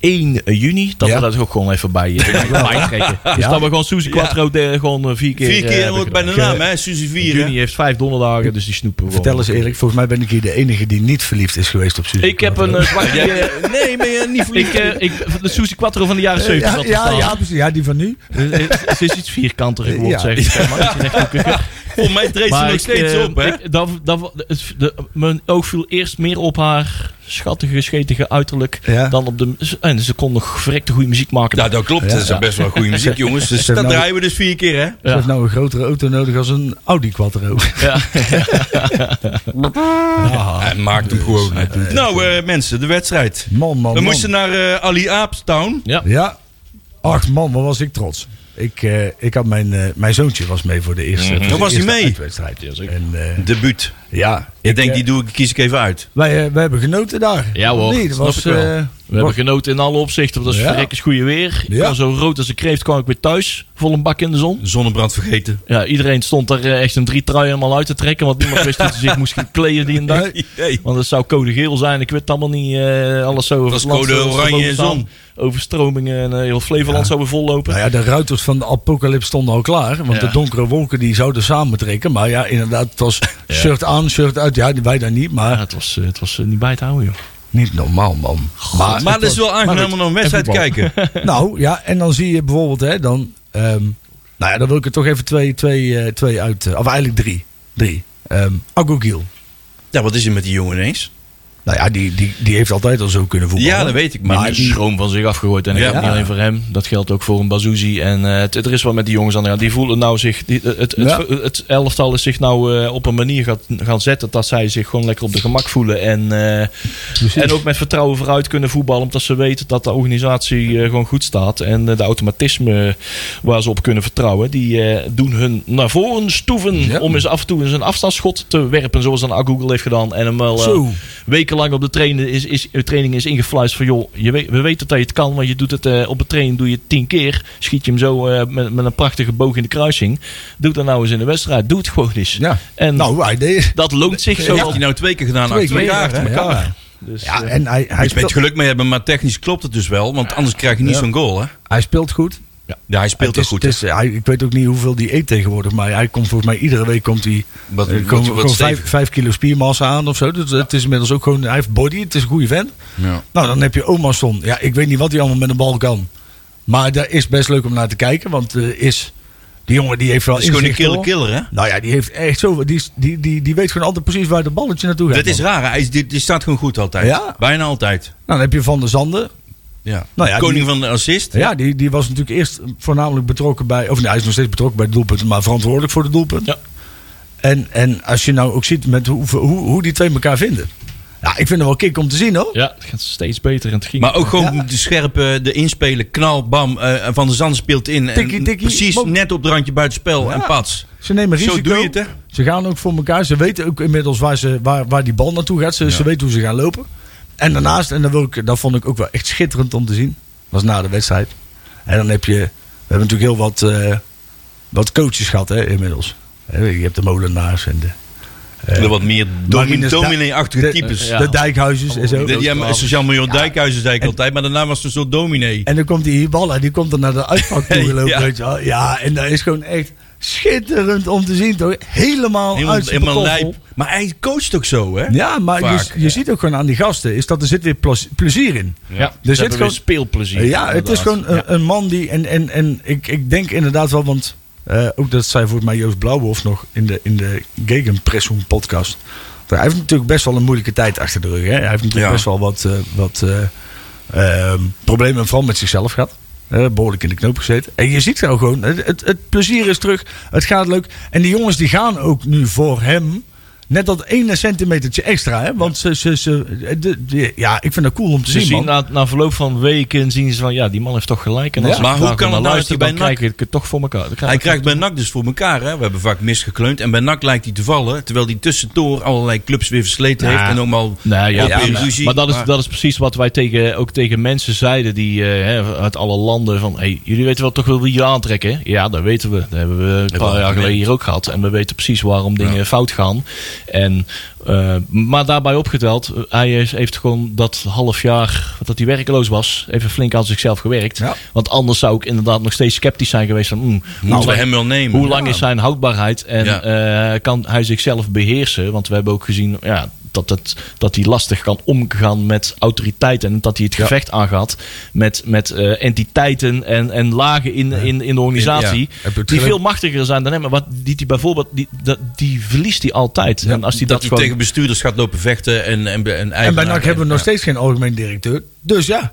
C: 1 juni, dat
B: Ja.
C: we dat ook gewoon even bij, eh, bij trekken. Dus dat we gewoon Suzy Quattro de- gewoon eh, vier keer...
A: Vier
C: eh,
A: keer
C: hebben
A: wordt bij de
C: gedaan.
A: naam, hè? Suzy 4, hè?
C: Juni heeft vijf donderdagen, dus die snoepen we
B: Vertel
C: gewoon.
B: eens eerlijk, volgens mij ben ik hier de enige die niet verliefd is geweest op Suzy.
C: Ik heb een eh, zwakje... eh,
A: Nee, ben je niet verliefd?
C: ik, eh, ik, de Suzy Quattro van de jaren 70
B: ja,
C: had
B: ja,
C: bestaan.
B: ja, precies. Ja, die van nu.
C: Eh, eh, Ze is iets vierkanter
B: Ja.
C: geworden, zeg ik. zeg maar. Iets rechthoekiger.
A: Volgens mij treedt ze
C: Maar
A: nog
C: ik,
A: steeds
C: eh,
A: op, hè?
C: ik- dat, dat, het- de, mijn oog viel eerst meer op haar schattige, schetige uiterlijk.
B: Ja.
C: Dan op de, en ze kon nog verrekte goede muziek maken.
A: Nou, dat klopt. Dat is
C: Ja.
A: best wel goede muziek, jongens. Dus
B: Ze
A: dat
B: hebben nou-
A: draaien we dus vier keer, hè?
B: Ze
C: Ja.
B: heeft nou een grotere auto nodig als een Audi Quattro.
C: Ja.
A: Hij maakt hem gewoon. nou, eh, mensen, de wedstrijd.
B: Man, man,
A: We
B: Oh, man.
A: moesten naar eh, Ali Aapstown.
C: ja.
B: Ja. Ach man, wat was ik trots. Ik, eh, ik had mijn, eh, mijn zoontje was mee voor de
C: Mhm.
B: eerste, voor de
A: Dan was hij
B: eerste
A: mee.
B: uitwedstrijd. En, eh,
A: Debuut.
B: ja,
A: Ik denk,
B: eh,
A: die doe ik, kies ik even uit.
B: wij, eh, wij hebben genoten daar.
C: Ja, hoor,
B: Nee, dat
C: snap
B: was,
C: ik wel.
B: eh,
C: We hebben genoten in alle opzichten. want Dat is
B: Ja.
C: verrekkers goede weer. Ik
B: Ja.
C: was zo rood als een kreeft kwam ik weer thuis. Vol een bak in de zon.
A: Zonnebrand vergeten.
C: Ja, iedereen stond er eh, echt een drie trui helemaal uit te trekken. Want niemand wist dat ze zich moest gaan kleden die een dag.
A: Nee.
C: Want het zou code geel zijn. Ik weet het allemaal niet. eh, alles zo over
A: was
C: het land
A: code
C: zo- zo
A: oranje
C: lopen
A: en
C: staan.
A: zon.
C: Overstromingen en eh, heel Flevoland zou weer vollopen.
B: nou ja, de ruiters van de apocalypse stonden al klaar. Want
C: Ja.
B: de donkere wolken die zouden samen trekken. Maar ja, inderdaad, het was shirt aan, shirt uit. Ja, wij daar niet,
C: Ja,
B: maar
C: het was, eh, het was eh, niet bij te houden, joh.
B: niet normaal, man.
A: Maar,
B: het
A: dat is
B: was-
A: wel aangenaam om naar een wedstrijd
B: voetbal.
A: kijken.
B: Nou ja, en dan zie je bijvoorbeeld, hè, dan. ehm, nou ja, dan wil ik er toch even twee, twee, eh, twee uit. eh, of eigenlijk drie. Drie. Ehm Agogiel.
A: Ja, wat is er met die jongen ineens?
B: Nou ja, die, die, die heeft altijd al zo kunnen voetballen.
A: Ja, dat weet ik. Maar
C: Maar die
A: die-
C: schroom van zich afgegooid. En dat
A: Ja.
C: geldt niet alleen voor hem. Dat geldt ook voor een Bazouzi. En eh, het, er is wat met die jongens aan de hand. Die voelen nou zich... Die, het, het,
B: Ja.
C: het, elftal is zich nou eh, op een manier gaat, gaan zetten... dat zij zich gewoon lekker op de gemak voelen. En, eh, en ook met vertrouwen vooruit kunnen voetballen. Omdat ze weten dat de organisatie eh, gewoon goed staat. En eh, de automatisme waar ze op kunnen vertrouwen... die eh, doen hun naar voren stoeven...
B: Ja.
C: om eens af en toe eens een afstandsschot te werpen. Zoals dan Google heeft gedaan. En hem wel... eh,
B: Zo.
C: wekenlang op de trainen is, is, de training is ingefluisterd van joh, je weet, we weten dat je het kan, maar je doet het eh, op de training doe je het tien keer. Schiet je hem zo eh, met, met een prachtige boog in de kruising. Doe dat nou eens in de wedstrijd. Doe het gewoon eens.
B: Ja.
C: En
B: Nou, hij deed
C: dat loont zich
A: Zo
C: zo.
A: heeft
C: al.
A: hij nou twee keer gedaan
B: twee
A: achter
B: keer
A: elkaar.
B: achter
A: hè?
B: elkaar. Ja,
C: Dus,
B: Ja,
C: eh,
B: en hij,
A: Moet
B: hij,
A: je een beetje
B: speelt,
A: geluk mee hebben, maar technisch klopt het dus wel. Want anders krijg je niet
B: Ja.
A: zo'n goal, hè?
B: hij speelt goed.
A: Ja, hij speelt
B: het is,
A: ook goed.
B: het is- hij, ik weet ook niet hoeveel die eet tegenwoordig, maar hij komt volgens mij iedere week komt hij
A: Wat-
B: eh,
A: wat-
B: komen-
A: wat
B: gewoon vijf,
A: stevig.
B: vijf kilo spiermassa aan of zo. Dus het is inmiddels ook gewoon, hij heeft body, het is een goede vent.
A: Ja.
B: Nou, dan heb je oma Son. Ja, ik weet niet wat hij allemaal met een bal kan. Maar daar is best leuk om naar te kijken, want eh, is, die jongen die heeft wel
A: Het is gewoon een
B: inzicht,
A: killer
B: hoor.
A: killer, hè?
B: Nou ja, die heeft echt zo. Die, is- die, die, die weet gewoon altijd precies waar de balletje naartoe gaat.
A: Dat is
B: man.
A: raar. hè? Hij is, die, die staat gewoon goed altijd.
B: Ja.
A: Bijna altijd.
B: Nou, dan heb je Van der Zanden.
A: Ja.
B: Nou ja,
A: Koning
B: die-
A: van de assist.
B: Ja, die, die was natuurlijk eerst voornamelijk betrokken bij. Of nee, hij is nog steeds betrokken bij de doelpunten, maar verantwoordelijk voor de doelpunten.
C: Ja.
B: En, en als je nou ook ziet met hoe, hoe, hoe die twee elkaar vinden. Ja, ik vind het wel kick om te zien hoor.
C: Ja, het gaat steeds beter en het ging.
A: Maar ook gewoon
B: Ja.
A: de scherpe, de inspelen, knal, bam. eh, van de Zand speelt in. en
B: Tikkie, tikkie,
A: precies
B: bam.
A: net op het randje buitenspel en
B: Ja.
A: pats.
B: Ze nemen
A: Zo
B: risico.
A: doe je het, hè?
B: Ze gaan ook voor elkaar. Ze weten ook inmiddels waar, ze, waar, waar die bal naartoe gaat. Ze, ze weten hoe ze gaan lopen. En daarnaast, en dat, wil ik, dat vond ik ook wel echt schitterend om te zien. was na de wedstrijd. En dan heb je... We hebben natuurlijk heel wat, eh, wat coaches gehad hè, inmiddels. Hè, Je hebt de molenaars en de... eh,
A: De wat meer domin-
B: Marinus Da-
A: dominee-achtige
B: de-
A: types.
C: ja.
B: De dijkhuizen en zo.
A: De- Ja, maar Sociaal miljoen Dijkhuizen zei ik altijd, maar daarna was het een soort dominee.
B: En dan komt die Hiballa, die komt dan naar de uitvak toe gelopen.
A: Ja.
B: Weet je wel. Ja, en dat is gewoon echt schitterend om te zien. Toch? Helemaal,
C: oh,
A: Helemaal,
B: uit zijn
A: helemaal
B: pantoffel.
A: lijp. Maar hij coacht ook zo, hè?
B: Ja, maar
A: Vaak,
B: je, je ziet ook gewoon aan die gasten is dat er zit weer plas- plezier in.
C: Ja, er
B: zit
C: zit gewoon
B: Dus gewoon-
C: speelplezier.
B: ja, het
C: inderdaad.
B: is gewoon eh, een,
C: Ja.
B: een man die en, en, en ik, ik denk inderdaad wel, want eh, ook dat zei volgens mij Joost Blauwhof nog in de in de Gegenpressung podcast. Hij heeft natuurlijk best wel een moeilijke tijd achter de rug. Hè? Hij heeft natuurlijk
A: Ja.
B: best wel wat, eh, wat eh, ehm, problemen vooral met zichzelf gehad. Eh, behoorlijk in de knoop gezeten. En je ziet nou gewoon, het, het, het plezier is terug. Het gaat leuk. En die jongens die gaan ook nu voor hem. Net dat ene centimetertje extra. Hè? Want ze, ze, ze, de- de- ja, ik vind dat cool om te
C: Ze
B: zien.
C: zien
B: Man.
C: na, na verloop van weken zien ze van ja, die man heeft toch gelijk. En als
B: Ja.
C: ik
A: Maar hoe
C: daar
A: kan
C: naar
A: het nou
C: luister,
A: dat hij
C: dan
A: bij
C: krijg ik het toch voor elkaar. Dan krijg
A: Hij
C: ik-
A: krijgt bij NAC dus voor elkaar. Hè? We hebben vaak misgekleund. En bij NAC lijkt hij te vallen. Terwijl hij tussendoor allerlei clubs weer versleten
C: Ja.
A: heeft. En ook al
C: Nou ja,
A: ook weer
C: maar-
A: ruzie.
C: maar dat is, dat is precies wat wij tegen, ook tegen mensen zeiden die eh, hè, uit alle landen van hey, jullie weten wel toch wel wie je aantrekken. hè? Ja, dat weten we. Dat hebben we een paar
A: we al
C: jaar
A: gemerkt.
C: geleden hier ook gehad. En we weten precies waarom dingen fout gaan. En, eh, maar daarbij opgeteld, eh, hij heeft- heeft gewoon dat half jaar dat hij werkeloos was, even flink aan zichzelf gewerkt.
B: Ja.
C: Want anders zou ik inderdaad nog steeds sceptisch zijn geweest van hmm,
A: Moeten
C: hoe
A: we hem wel nemen.
C: Hoe lang is zijn houdbaarheid en
A: Ja.
C: eh, kan hij zichzelf beheersen? Want we hebben ook gezien ja, dat, het, dat hij lastig kan omgaan met autoriteiten. En dat hij het gevecht aangaat met, met eh, entiteiten en, en lagen in, in, in de organisatie.
A: Ja.
B: Heb je het
C: Die
B: geluk-
C: veel machtiger zijn dan hem. Maar wat, die, die bijvoorbeeld, die, dat, die verliest hij altijd. En als hij
A: dat
C: dat,
A: hij
C: gewoon-
A: tegen bestuurders gaat lopen vechten. En, en, en,
B: En bij NAC hebben we nog steeds geen algemeen directeur. Dus ja.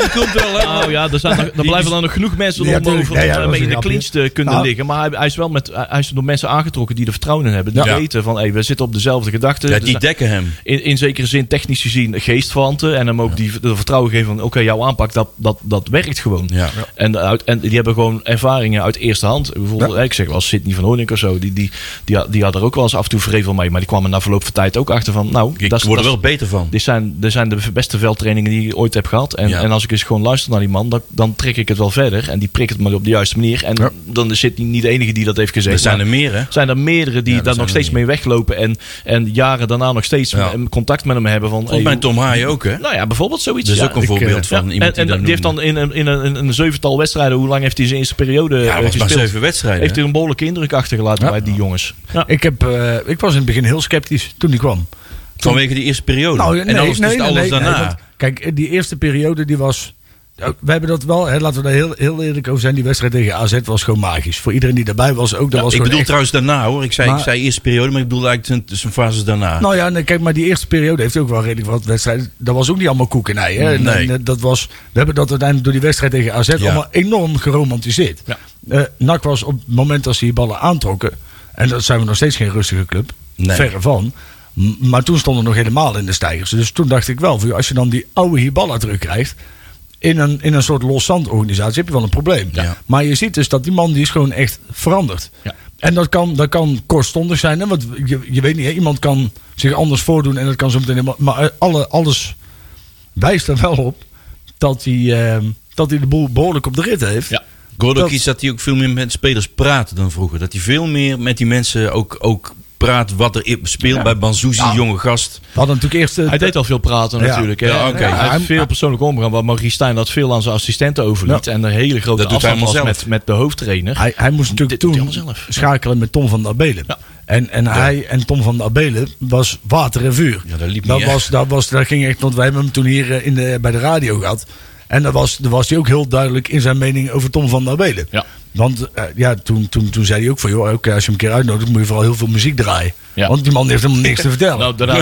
A: die komt wel. hè?
C: Nou ja, er, zijn nog, er blijven dan nog genoeg mensen
B: Ja,
C: om
B: tuurlijk.
C: over
B: Ja, ja,
C: om
B: dat is
C: in de
B: een
C: clinch te kunnen
B: Nou.
C: liggen. Maar hij, hij is wel met, hij is door mensen aangetrokken die er vertrouwen in hebben. Die
A: Ja.
C: weten van, hey, we zitten op dezelfde gedachten.
A: Ja,
C: Er
A: die
C: zijn-
A: dekken hem.
C: in, in zekere zin technisch gezien geestverwanten. En hem ook die de vertrouwen geven van oké, jouw aanpak dat, dat, dat werkt gewoon.
A: Ja.
C: En, uit, en die hebben gewoon ervaringen uit eerste hand. Bijvoorbeeld, ik zeg wel Sidney van Hoornik of zo. Die, die, die, had- die had er ook wel eens af en toe vrevel mee. Maar die kwam er na verloop van tijd ook achter van nou,
A: Ik
C: dat is-
A: word er
C: dat is-
A: wel beter van.
C: dit zijn, dit zijn de beste veldtrainingen die ik ooit heb gehad. En,
A: Ja.
C: en als ik eens gewoon luister naar die man, dan, dan trek ik het wel verder. En die prikt het me op de juiste manier. En dan is Sidney niet de enige die dat heeft gezegd.
A: Er zijn
C: maar-
A: er meer, hè?
C: zijn er meerdere die
A: Ja, er
C: daar
A: zijn
C: nog
A: er
C: steeds mee weglopen. En, en jaren daarna nog steeds
A: Ja.
C: m- contact met hem hebben. Van, hey,
A: Volgens mij
C: hoe-
A: Tom Haaien ook, hè?
C: nou ja, bijvoorbeeld zoiets.
A: Dat is
C: ja.
A: ook een
C: Ik, eh,
A: voorbeeld van
C: ja.
A: iemand
C: En,
A: die
C: en
A: dat
C: die heeft
A: noemde.
C: dan in, een- in, een, in een zevental wedstrijden, hoe lang heeft hij zijn eerste periode
A: Ja,
C: eh,
A: dat was maar
C: gespeeld?
A: zeven wedstrijden.
C: Heeft hij een behoorlijke indruk achtergelaten
B: Ja.
C: bij die jongens. Ja.
B: Ik, heb, eh, ik was in het begin heel sceptisch toen die kwam.
A: Vanwege die eerste periode.
B: Nou,
A: en alles, dus alles daarna.
B: want kijk, eh, die eerste periode die was... eh, We hebben dat wel, hè, laten we daar heel, heel eerlijk over zijn. Die wedstrijd tegen AZ was gewoon magisch. Voor iedereen die erbij was ook. Dat
A: ik
B: was gewoon
A: bedoel
B: echt-
A: trouwens daarna, hoor. Ik zei,
B: Maar-
A: ik zei eerste periode, maar ik bedoel eigenlijk zijn, zijn fases daarna.
B: Nou ja, nee, kijk, maar die eerste periode heeft ook wel redelijk wat wedstrijden. Dat was ook niet allemaal koek en ei. Hè? En-
A: Nee.
B: en, eh, dat was, we hebben dat uiteindelijk door die wedstrijd tegen AZ
A: Ja.
B: allemaal enorm geromantiseerd.
A: Ja.
B: Eh, NAC was op het moment dat ze die ballen aantrokken... en dat zijn we nog steeds geen rustige club,
A: Nee.
B: verre van... M- Maar toen stonden we nog helemaal in de stijgers. Dus toen dacht ik wel, van, joh, als je dan die oude Hiballa terugkrijgt... in een, in een soort loszandorganisatie heb je wel een probleem.
A: Ja.
B: Maar je ziet dus dat die man die is gewoon echt veranderd.
C: Ja.
B: En dat kan, dat kan kortstondig zijn. Hè? Want je, je weet niet, hè, iemand kan zich anders voordoen en dat kan zo meteen helemaal. Maar eh, alle, alles wijst er wel op dat hij, ehm, dat hij de boel behoorlijk op de rit heeft.
C: Ja.
A: Gordon
B: Dat-
A: kiest dat hij ook veel meer met spelers praat dan vroeger. Dat hij veel meer met die mensen ook, ook praat wat er i- speelt bij Banzuzi, jonge gast.
B: We hadden natuurlijk eerst... eh,
C: Hij deed al veel praten
B: Ja.
C: natuurlijk. hè.
A: Ja, oké.
C: Hij
B: Hij-
C: had veel persoonlijk omgang, waar Maurice Stijn dat veel aan zijn assistenten overliet. En een hele grote
A: Dat doet hij
C: afstand was
A: allemaal
C: met,
A: zelf.
C: met de hoofdtrainer.
B: Hij, hij moest natuurlijk
C: Dit doet hij
B: toen
C: allemaal zelf.
B: schakelen met Tom van der Abelen.
C: Ja.
B: En, en hij en Tom van der Abelen was water en vuur.
A: Ja, dat liep
B: dat,
A: niet, hè?
B: was, dat, was, dat ging echt, want wij hebben hem toen hier eh, in de, bij de radio gehad. En daar was, daar was hij ook heel duidelijk in zijn mening over Tom van der Abelen.
C: Ja.
B: Want eh, ja, toen, toen, toen zei hij ook van, joh, oké, als je hem een keer uitnodigt, moet je vooral heel veel muziek draaien.
C: Ja.
B: Want die man heeft helemaal niks te vertellen.
C: Nou, daarna,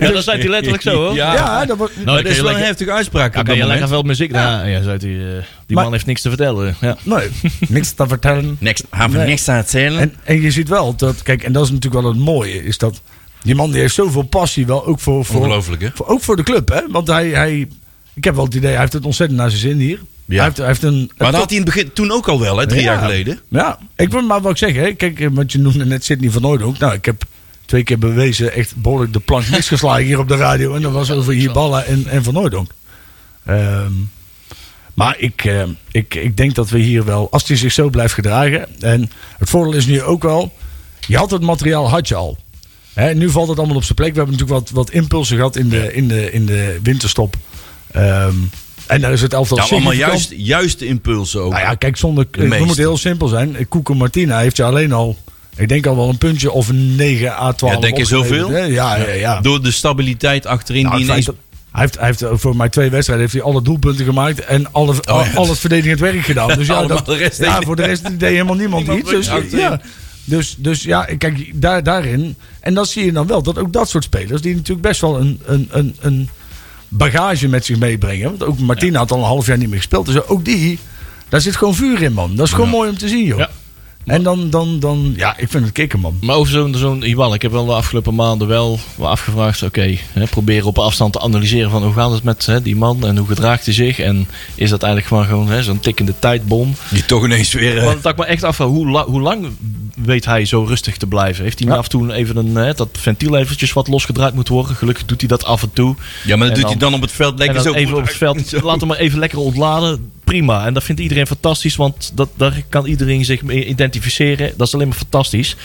C: ja, dat zei hij letterlijk zo hoor.
A: Ja.
B: ja, dat was,
C: Nou,
A: dat is wel een
C: lekker,
A: heftige uitspraak.
C: ja,
A: op
C: kan
A: dat
C: je lekker
A: moment.
C: veel muziek. Ja, ja, zei hij, eh, die
B: Maar-
C: man heeft niks te vertellen. Ja.
B: nee, niks te vertellen.
A: Niks, gaan we
B: Nee.
A: niks aan het zelen.
B: En, en je ziet wel dat, kijk, en dat is natuurlijk wel het mooie, is dat die man die heeft zoveel passie wel ook voor, voor,
A: Ongelooflijk, hè?
B: voor- ook voor de club, hè? Want hij, hij, ik heb wel het idee, hij heeft het ontzettend naar zijn zin hier.
A: Ja.
B: Hij, heeft, hij heeft een.
A: Maar
B: een
A: dat had hij in het begin toen ook al wel, hè, drie
B: Ja.
A: jaar geleden.
B: Ja, ik wil maar wat zeggen, hè? Kijk, eh, want je noemde net Sidney van Noordhoek. Nou, ik heb twee keer bewezen echt behoorlijk de plank misgeslagen hier op de radio. En dat was over Hiballa en, en van Noordhoek. Ehm, maar ik, eh, ik, ik denk dat we hier wel, als hij zich zo blijft gedragen. En het voordeel is nu ook wel, je had het materiaal had je al. Hè, nu valt het allemaal op zijn plek. We hebben natuurlijk wat, wat impulsen gehad in de, in de, in de winterstop. Ehm, en daar is het elftal
A: Nou, allemaal
B: significant-
A: juist, juiste impulsen ook.
B: nou ja, kijk, zonder,
A: De
B: we moeten
A: meeste.
B: heel simpel zijn. Koeken Martina heeft je alleen al, ik denk al wel een puntje of een 9 A12.
A: Ja, denk je
B: opgeleverd,
A: zoveel?
B: hè? Ja, ja, ja.
A: Door de stabiliteit achterin
B: Nou,
A: die
B: het feit
A: ineens...
B: dat- hij heeft, hij heeft eh, voor mij twee wedstrijden heeft hij alle doelpunten gemaakt en alle, al,
A: Oh, ja.
B: al het verdedigend werk gedaan. Dus ja,
A: Allemaal
B: dat-
A: de rest
B: ja
A: deed-
B: voor de rest deed helemaal niemand,
A: Niemand
B: iets. Dus,
A: achterin.
B: ja, dus, dus ja, kijk, daar, daarin. En dan zie je dan wel dat ook dat soort spelers, die natuurlijk best wel een, een, een, een bagage met zich meebrengen. Want ook Martina had al een half jaar niet meer gespeeld. Dus ook die, daar zit gewoon vuur in, man. Dat is gewoon mooi om te zien, joh.
C: Ja.
B: En dan, dan, dan, ja, ik vind het kicken, man.
C: Maar over zo'n zo'n Iwan, ik heb wel de afgelopen maanden wel wel afgevraagd. Oké, hè, proberen op afstand te analyseren van hoe gaat het met hè, die man en hoe gedraagt hij zich. En is dat eigenlijk gewoon, gewoon hè, zo'n tikkende tijdbom.
A: Die toch ineens weer... eh,
C: Want dat ik me echt afvraag, hoe, la- hoe lang weet hij zo rustig te blijven? Heeft hij
B: Ja.
C: af en toe even een, hè, dat ventiel eventjes wat losgedraaid moet worden? Gelukkig doet hij dat af en toe.
A: ja,
C: en
A: maar dat doet
C: dan-
A: hij dan op het veld lekker
C: en
A: zo.
C: dan even op het veld,
A: Zo.
C: laat hem maar even lekker ontladen. Prima. En dat vindt iedereen fantastisch, want dat, daar kan iedereen zich mee identificeren. Dat is alleen maar fantastisch.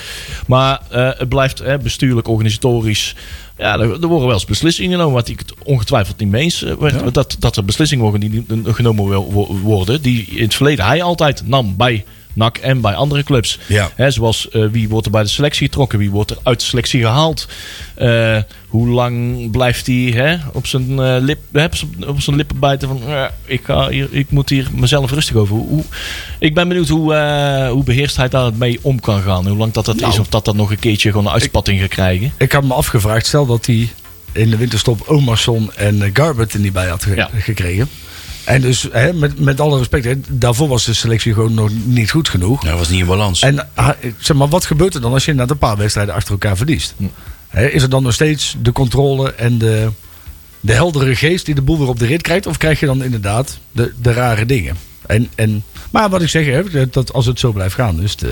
C: Maar eh, het blijft hè, bestuurlijk, organisatorisch. Ja, er, er worden wel eens beslissingen genomen, wat ik het ongetwijfeld niet mee eens eh, werd. Dat, dat er beslissingen worden die niet- genomen wel wo- worden, die in het verleden hij altijd nam bij NAC en bij andere clubs.
A: Ja.
C: Hè, zoals eh, wie wordt er bij de selectie getrokken, wie wordt er uit de selectie gehaald. Eh, hoe lang blijft hij hè, op, zijn, eh, lip, hè, op zijn- op zijn lippen bijten van eh, ik, ga hier, ik moet hier mezelf rustig over. Hoe, hoe- ik ben benieuwd hoe, eh, hoe beheerst hij daarmee om kan gaan. Hoe lang dat, dat is of dat dat nog een keertje gewoon een uitspatting gaat krijgen.
B: Ik had me afgevraagd, stel dat hij in de winterstop Omerson en eh, Garbert er niet bij had ge-
C: Ja.
B: gekregen. En dus, hè, met, met alle respect, hè, daarvoor was de selectie gewoon nog niet goed genoeg.
A: Nou, dat was niet in balans.
B: En ah, zeg maar, wat gebeurt er dan als je inderdaad een paar wedstrijden achter elkaar verliest? Hè, is er dan nog steeds de controle en de, de heldere geest die de boel weer op de rit krijgt? Of krijg je dan inderdaad de, de rare dingen? En, en, maar wat ik zeg, hè, dat- dat als het zo blijft gaan, is het, eh,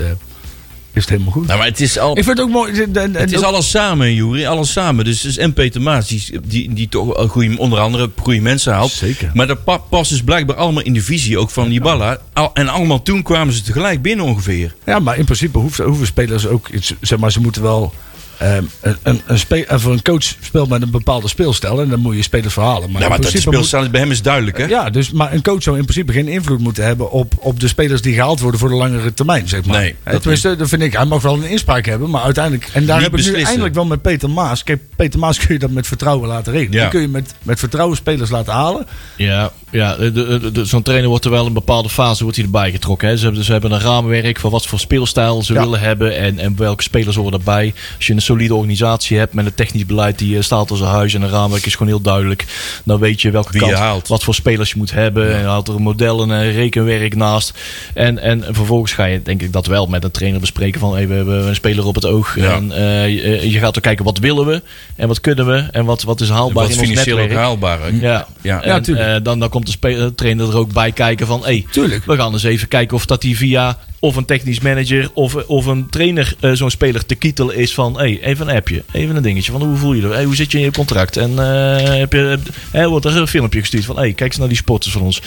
B: is het helemaal goed.
A: nou, maar het is al...
B: ik vind het ook mooi. en- en-
A: Het
B: en
A: is alles samen, Juri. Alles samen. Dus, dus en Peter Maas, die, die, die toch wel goede, onder andere goede mensen haalt.
B: Zeker.
A: Maar dat pa- past dus blijkbaar allemaal in de visie ook van Nibala. Al, en allemaal toen kwamen ze tegelijk binnen ongeveer.
B: Ja, maar in principe hoeft, hoeven spelers ook. iets- Zeg maar, ze moeten wel. ehm, een, een, een spe- eh, voor een coach speelt met een bepaalde speelstijl. En dan moet je spelers verhalen. Maar,
A: Ja,
B: in
A: maar dat
B: principe
A: speelstijl is bij hem is duidelijk, hè?
B: moet- ja, dus, maar een coach zou in principe geen invloed moeten hebben op, op de spelers die gehaald worden voor de langere termijn. Zeg maar.
A: Nee,
B: Eh,
A: dat
B: Tenminste, dat vind ik. Hij mag wel een inspraak hebben, maar uiteindelijk. En daar
A: Niet
B: heb ik nu
A: beslissen.
B: eindelijk wel met Peter Maas. Kijk, Peter Maas kun je dat met vertrouwen laten regelen.
A: Ja.
B: Die kun je met, met vertrouwen spelers laten halen.
C: Ja, ja de- de- de- zo'n trainer wordt er wel een bepaalde fase wordt hij erbij getrokken. Hè. Ze, hebben, ze hebben een raamwerk van wat voor speelstijl ze
B: Ja.
C: willen hebben en, en welke spelers horen daarbij. Als je een solide organisatie hebt met een technisch beleid die eh, staat als een huis en een raamwerk is gewoon heel duidelijk. Dan weet je welke
A: Wie je
C: kant,
A: haalt.
C: wat voor spelers je moet hebben. En haalt er een model en een rekenwerk naast. En, en vervolgens ga je denk ik dat wel met een trainer bespreken van hey, we hebben een speler op het oog.
A: Ja.
C: En, eh, je, je gaat ook kijken wat willen we en wat kunnen we en wat, wat is haalbaar
A: Wat
C: in ons
A: financieel ook
C: netwerk.
A: haalbaar. hè?
C: Ja,
A: Ja.
C: ja.
B: Ja,
C: En,
B: tuurlijk.
C: eh, dan, dan komt de spe- trainer er ook bij kijken van... Hey,
B: Tuurlijk.
C: we gaan eens even kijken of dat hij via of een technisch manager... of, of een trainer eh, zo'n speler te kietelen is van... Hey, even een appje, even een dingetje van hoe voel je je? Hey, hoe zit je in je contract? En eh, heb je, heb- hè, wordt er een filmpje gestuurd van... Hey, kijk eens naar die sporters van ons.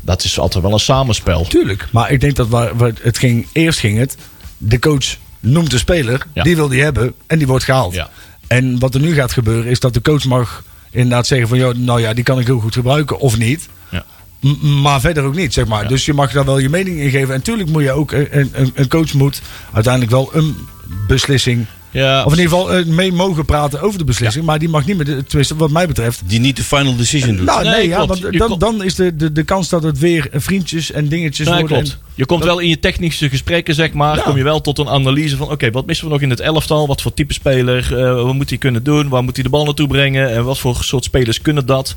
C: Dat is altijd wel een samenspel.
B: Tuurlijk. Maar ik denk dat waar, waar het ging, eerst ging het. De coach noemt de speler,
C: Ja.
B: die wil die hebben en die wordt gehaald.
C: Ja.
B: En wat er nu gaat gebeuren is dat de coach mag inderdaad zeggen van... Joh, nou ja, die kan ik heel goed gebruiken of niet.
C: Ja.
B: M- maar verder ook niet, zeg maar.
C: Ja.
B: Dus je mag daar wel je mening in geven. En natuurlijk moet je ook, eh, een, een, een coach moet uiteindelijk wel een beslissing...
C: Ja,
B: Of in ieder geval eh, mee mogen praten over de beslissing. Maar die mag niet meer, de- tenminste wat mij betreft...
A: Die niet de final decision doet.
B: Nou, nee,
C: Nee,
B: ja,
C: klopt.
B: want
C: Je
B: dan,
C: klopt.
B: dan is de, de, de kans dat het weer eh, vriendjes en dingetjes
C: Ja,
B: worden.
C: klopt. Je komt wel in je technische gesprekken, zeg maar,
B: Ja.
C: kom je wel tot een analyse van... oké, wat missen we nog in het elftal? Wat voor type speler? eh, wat moet hij kunnen doen? Waar moet hij de bal naartoe brengen? En wat voor soort spelers kunnen dat?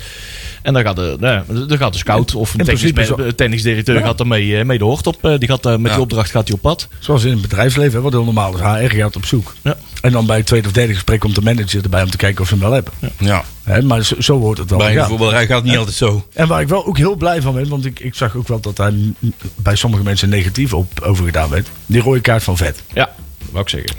C: En dan gaat de, nou, dan gaat de scout of
B: In
C: een technisch,
B: principe
C: me- technisch-directeur...
B: Ja.
C: gaat daar mee, eh, mee de hoort op. Eh, die gaat, daar met
A: Ja.
C: die opdracht gaat hij op pad.
B: En zoals in het bedrijfsleven, hè, wat heel normaal is. HR gaat op zoek.
C: Ja.
B: En dan bij het tweede of derde gesprek komt de manager erbij om te kijken of ze hem wel hebben.
A: Ja,
B: Hè, maar zo, zo hoort het dan.
A: bij een
B: Ja.
A: voetbalrij gaat het niet altijd zo.
B: En waar ik wel ook heel blij van ben, want ik, ik zag ook wel dat daar n- bij sommige mensen negatief op over gedaan werd. Die rode kaart van vet.
C: Ja, dat wou ik zeggen.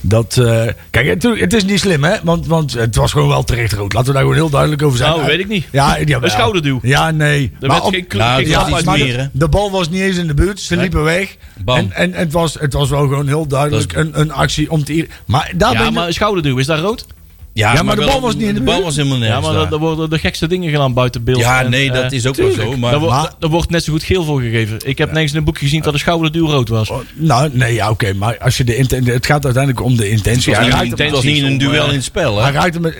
B: Dat, eh, kijk, het, het is niet slim, hè? Want, want het was gewoon wel terecht rood. Laten we daar gewoon heel duidelijk over zijn.
C: Nou, weet ik niet.
B: Ja, ja,
C: Een schouderduw.
B: Ja, nee.
C: Er
B: Maar
C: werd
B: op-
C: geen
A: Nou,
C: geen
A: het
C: klap
A: was iets
C: uit-
B: maar
A: meer.
B: de,
A: hè?
B: de bal was niet eens in de buurt. Ze liepen weg.
A: Bam.
B: En, en het, was, het was wel gewoon heel duidelijk een, een actie om te... ir- Maar daar ben
C: Ja,
B: je-
C: maar een schouderduw, is daar rood?
A: Ja,
B: maar de
A: wel-
B: bal was niet in de
A: De bal
B: buurt.
A: was helemaal
C: Ja,
A: nergens
C: maar
A: daar.
C: daar- daar worden de gekste dingen gedaan buiten beeld.
A: Ja,
C: En,
A: nee,
C: eh,
A: dat is ook wel zo. Maar
C: daar, wordt,
B: Maar-
C: daar wordt net zo goed geel voor gegeven. Ik heb nergens in een boekje gezien dat een schouderduw rood was.
B: Oh, Nou, nee, ja, oké. maar als je de inten- het gaat uiteindelijk om de intentie.
A: het
B: Hij
A: was
B: raakt,
A: niet,
B: hem,
A: het was niet een
C: intenties om,
A: duel
C: eh,
A: in het spel,
B: hij
A: hè?
B: raakt hem... eh,